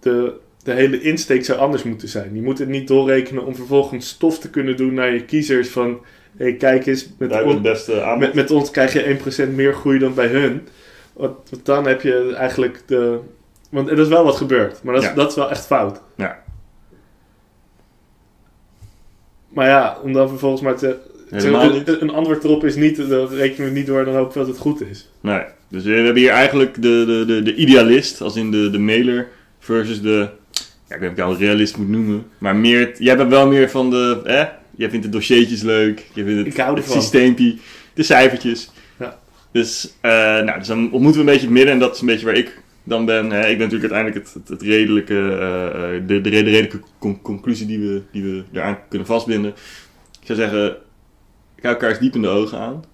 Speaker 1: de, de hele insteek zou anders moeten zijn. Je moet het niet doorrekenen om vervolgens stof te kunnen doen naar je kiezers van... Hé, kijk eens, met, on-
Speaker 2: beste aan.
Speaker 1: met, met ons krijg je 1% meer groei dan bij hun. Want, want dan heb je eigenlijk de... Want er is wel wat gebeurd, maar dat is,
Speaker 2: Ja.
Speaker 1: dat is wel echt fout.
Speaker 2: Ja.
Speaker 1: Maar ja, om dan vervolgens maar te,
Speaker 2: Helemaal niet.
Speaker 1: een, een antwoord erop is niet, dat rekenen we niet door, dan hoop ik dat het goed is.
Speaker 2: Nee. Dus we hebben hier eigenlijk de, de, de, de idealist, als in de, de mailer, versus de, ja, ik weet niet of ik jou een realist moet noemen, maar meer, jij bent wel meer van de, hè, jij vindt de dossiertjes leuk, je vindt het,
Speaker 1: Ik hou
Speaker 2: het
Speaker 1: ervan.
Speaker 2: systeempje, de cijfertjes.
Speaker 1: Ja.
Speaker 2: Dus, eh, nou, dus dan ontmoeten we een beetje het midden en dat is een beetje waar ik dan ben. Hè, ik ben natuurlijk uiteindelijk het, het, het redelijke, eh, eh, de, de re- de redelijke con- conclusie die we, die we eraan kunnen vastbinden. Ik zou zeggen, kijk elkaar eens diep in de ogen aan.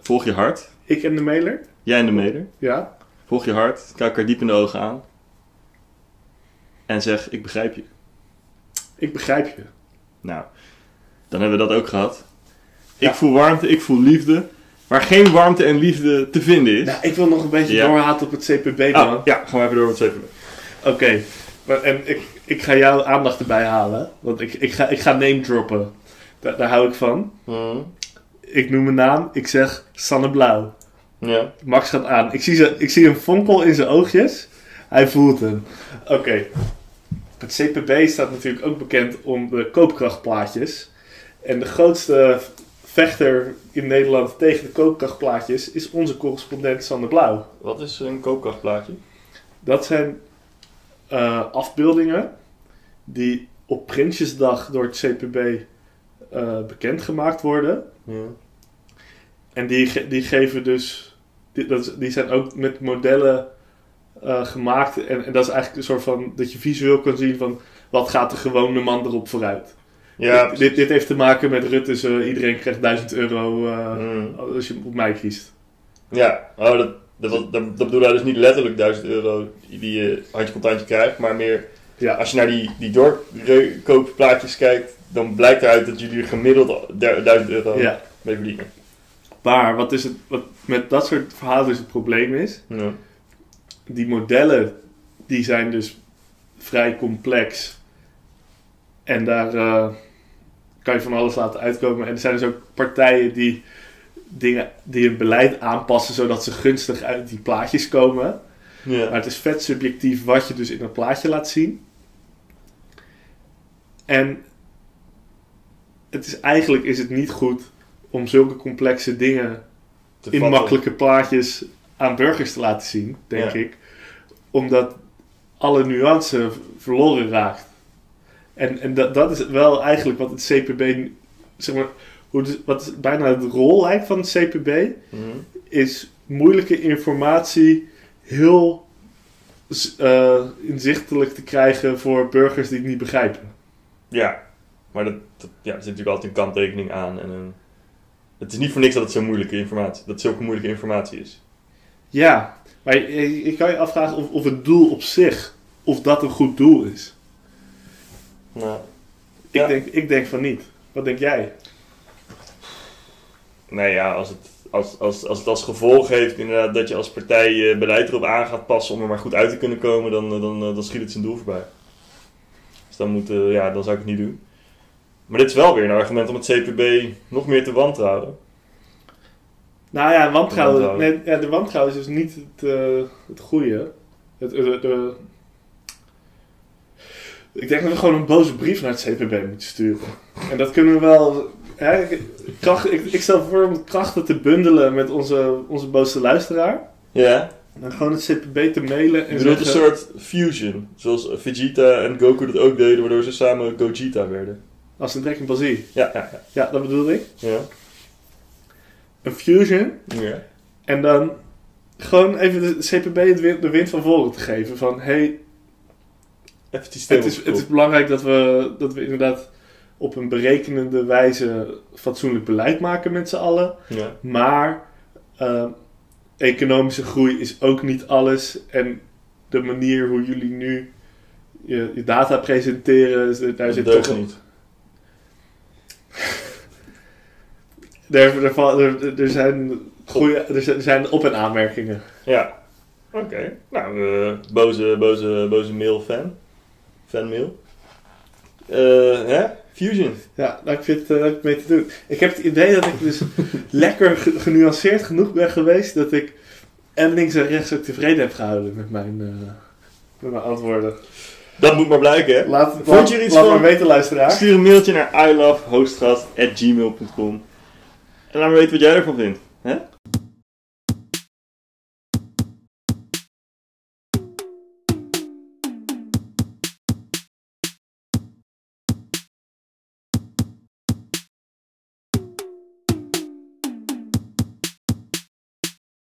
Speaker 2: Volg je hart.
Speaker 1: Ik en de mailer.
Speaker 2: Jij en de meder.
Speaker 1: Ja.
Speaker 2: Volg je hart. Kijk elkaar diep in de ogen aan. En zeg, ik begrijp je.
Speaker 1: Ik begrijp je.
Speaker 2: Nou, dan hebben we dat ook gehad.
Speaker 1: Ja.
Speaker 2: Ik voel warmte, ik voel liefde. Waar geen warmte en liefde te vinden is.
Speaker 1: Nou, ik wil nog een beetje
Speaker 2: Ja.
Speaker 1: doorhaten op het CPB, man.
Speaker 2: Ah, ja, gaan we even door met het CPB.
Speaker 1: Oké. Maar- En ik, ik ga jouw aandacht erbij halen. Want ik, ik, ga, ik ga name droppen. Daar, daar hou ik van.
Speaker 2: Mhm.
Speaker 1: Ik noem mijn naam. Ik zeg Sanne Blauw.
Speaker 2: Ja.
Speaker 1: Max gaat aan. Ik zie, ze, ik zie een fonkel in zijn oogjes. Hij voelt hem. Oké. Het CPB staat natuurlijk ook bekend om de koopkrachtplaatjes. En de grootste vechter in Nederland tegen de koopkrachtplaatjes is onze correspondent Sander Blauw.
Speaker 2: Wat is een koopkrachtplaatje?
Speaker 1: Dat zijn eh, afbeeldingen die op Prinsjesdag door het CPB eh, bekendgemaakt worden.
Speaker 2: Ja.
Speaker 1: En die, ge- die geven dus. Die, dat, is- die zijn ook met modellen eh, gemaakt. En, en dat is eigenlijk een soort van. dat je visueel kan zien van. wat gaat de gewone man erop vooruit.
Speaker 2: Ja.
Speaker 1: dit, dit, dit heeft te maken met Rutte's. eh, iedereen krijgt 1000 euro. eh,
Speaker 2: Mm.
Speaker 1: als je op mij kiest.
Speaker 2: ja. Oh, dat, dat, was- dat, dat bedoelde hij dus niet letterlijk 1000 euro die je handje contantje krijgt. Maar meer,
Speaker 1: Ja.
Speaker 2: als je naar die, die doorkoopplaatjes kijkt, dan blijkt eruit dat jullie er gemiddeld der- 1000 euro
Speaker 1: Ja.
Speaker 2: mee verdienen.
Speaker 1: Maar wat is het. wat met dat soort verhalen dus het probleem is.
Speaker 2: Ja.
Speaker 1: die modellen die zijn dus vrij complex. En daar eh, kan je van alles laten uitkomen. En er zijn dus ook partijen die dingen die hun beleid aanpassen zodat ze gunstig uit die plaatjes komen.
Speaker 2: Ja.
Speaker 1: Maar het is vet subjectief wat je dus in een plaatje laat zien. En het is eigenlijk is het niet goed om zulke complexe dingen
Speaker 2: Te
Speaker 1: in
Speaker 2: vatten.
Speaker 1: makkelijke plaatjes aan burgers te laten zien, denk
Speaker 2: Ja.
Speaker 1: ik. Omdat alle nuance v- verloren raakt. En, en dat, dat is wel eigenlijk wat het CPB, nu- zeg maar, hoe de- wat bijna het rol lijkt van het CPB,
Speaker 2: Mhm.
Speaker 1: is moeilijke informatie heel z- eh, inzichtelijk te krijgen voor burgers die het niet begrijpen.
Speaker 2: Ja, maar dat, dat- ja, er zit natuurlijk altijd een kanttekening aan. En een, het is niet voor niks dat het zo moeilijke informatie, dat zulke moeilijke informatie is.
Speaker 1: Ja, maar je- je- ik kan je afvragen of, of het doel op zich, of dat een goed doel is.
Speaker 2: Nou,
Speaker 1: Ik,
Speaker 2: Ja.
Speaker 1: denk, ik denk van niet. Wat denk jij?
Speaker 2: nou ja, als het als, als, als het als gevolg heeft inderdaad dat je als partij je beleid erop aan gaat passen om er maar goed uit te kunnen komen, dan, eh, dan, eh, dan schiet het zijn doel voorbij. Dus dan, moet, eh, ja, dan zou ik het niet doen. Maar dit is wel weer een argument om het CPB nog meer te wantrouwen.
Speaker 1: Nou ja, wantrouwen.
Speaker 2: De wantrouwen.
Speaker 1: Nee, ja, de wantrouwen is dus niet het, eh, het goede. Het, eh, eh, eh. ik denk dat we gewoon een boze brief naar het CPB moeten sturen. En dat kunnen we wel. Hè, ik- kracht, ik, ik stel voor om krachten te bundelen met onze, onze boze luisteraar.
Speaker 2: Ja,
Speaker 1: En gewoon het CPB te mailen
Speaker 2: je
Speaker 1: en
Speaker 2: bedoelt een
Speaker 1: zeggen,
Speaker 2: soort fusion. Zoals Vegeta en Goku dat ook deden, waardoor ze samen Gogeta werden.
Speaker 1: als een trek in Basie.
Speaker 2: Ja, ja,
Speaker 1: Ja, dat bedoel ik.
Speaker 2: ja.
Speaker 1: Een fusion
Speaker 2: Ja.
Speaker 1: En dan gewoon even de CPB het win- de wind van voren te geven. Van hey,
Speaker 2: Even het systeem
Speaker 1: het is, het
Speaker 2: opgekoeld.
Speaker 1: is belangrijk dat we, dat we inderdaad op een berekenende wijze fatsoenlijk beleid maken met z'n allen.
Speaker 2: Ja.
Speaker 1: Maar eh, economische groei is ook niet alles. En de manier hoe jullie nu je, je data presenteren, daar
Speaker 2: Dat
Speaker 1: zit
Speaker 2: deugt
Speaker 1: toch een-
Speaker 2: niet.
Speaker 1: Daar, daar val- er, er zijn goede, er zijn- er zijn op- en aanmerkingen.
Speaker 2: Ja. Oké. Nou, eh, boze, boze, boze mail fan. Fanmail. Eh hè? Fusion.
Speaker 1: Ja, daar heb je het eh, leuk mee te doen. Ik heb het idee dat ik dus lekker ge- genuanceerd genoeg ben geweest dat ik en links en rechts ook tevreden heb gehouden met mijn, eh, met mijn antwoorden.
Speaker 2: Dat moet maar blijken, hè?
Speaker 1: Laat,
Speaker 2: Vond
Speaker 1: laat,
Speaker 2: je er iets
Speaker 1: laat
Speaker 2: van?
Speaker 1: maar weten, luisteraar.
Speaker 2: Stuur een mailtje naar ilovehostgast.gmail.com En laat me weten wat jij ervan vindt. Hè?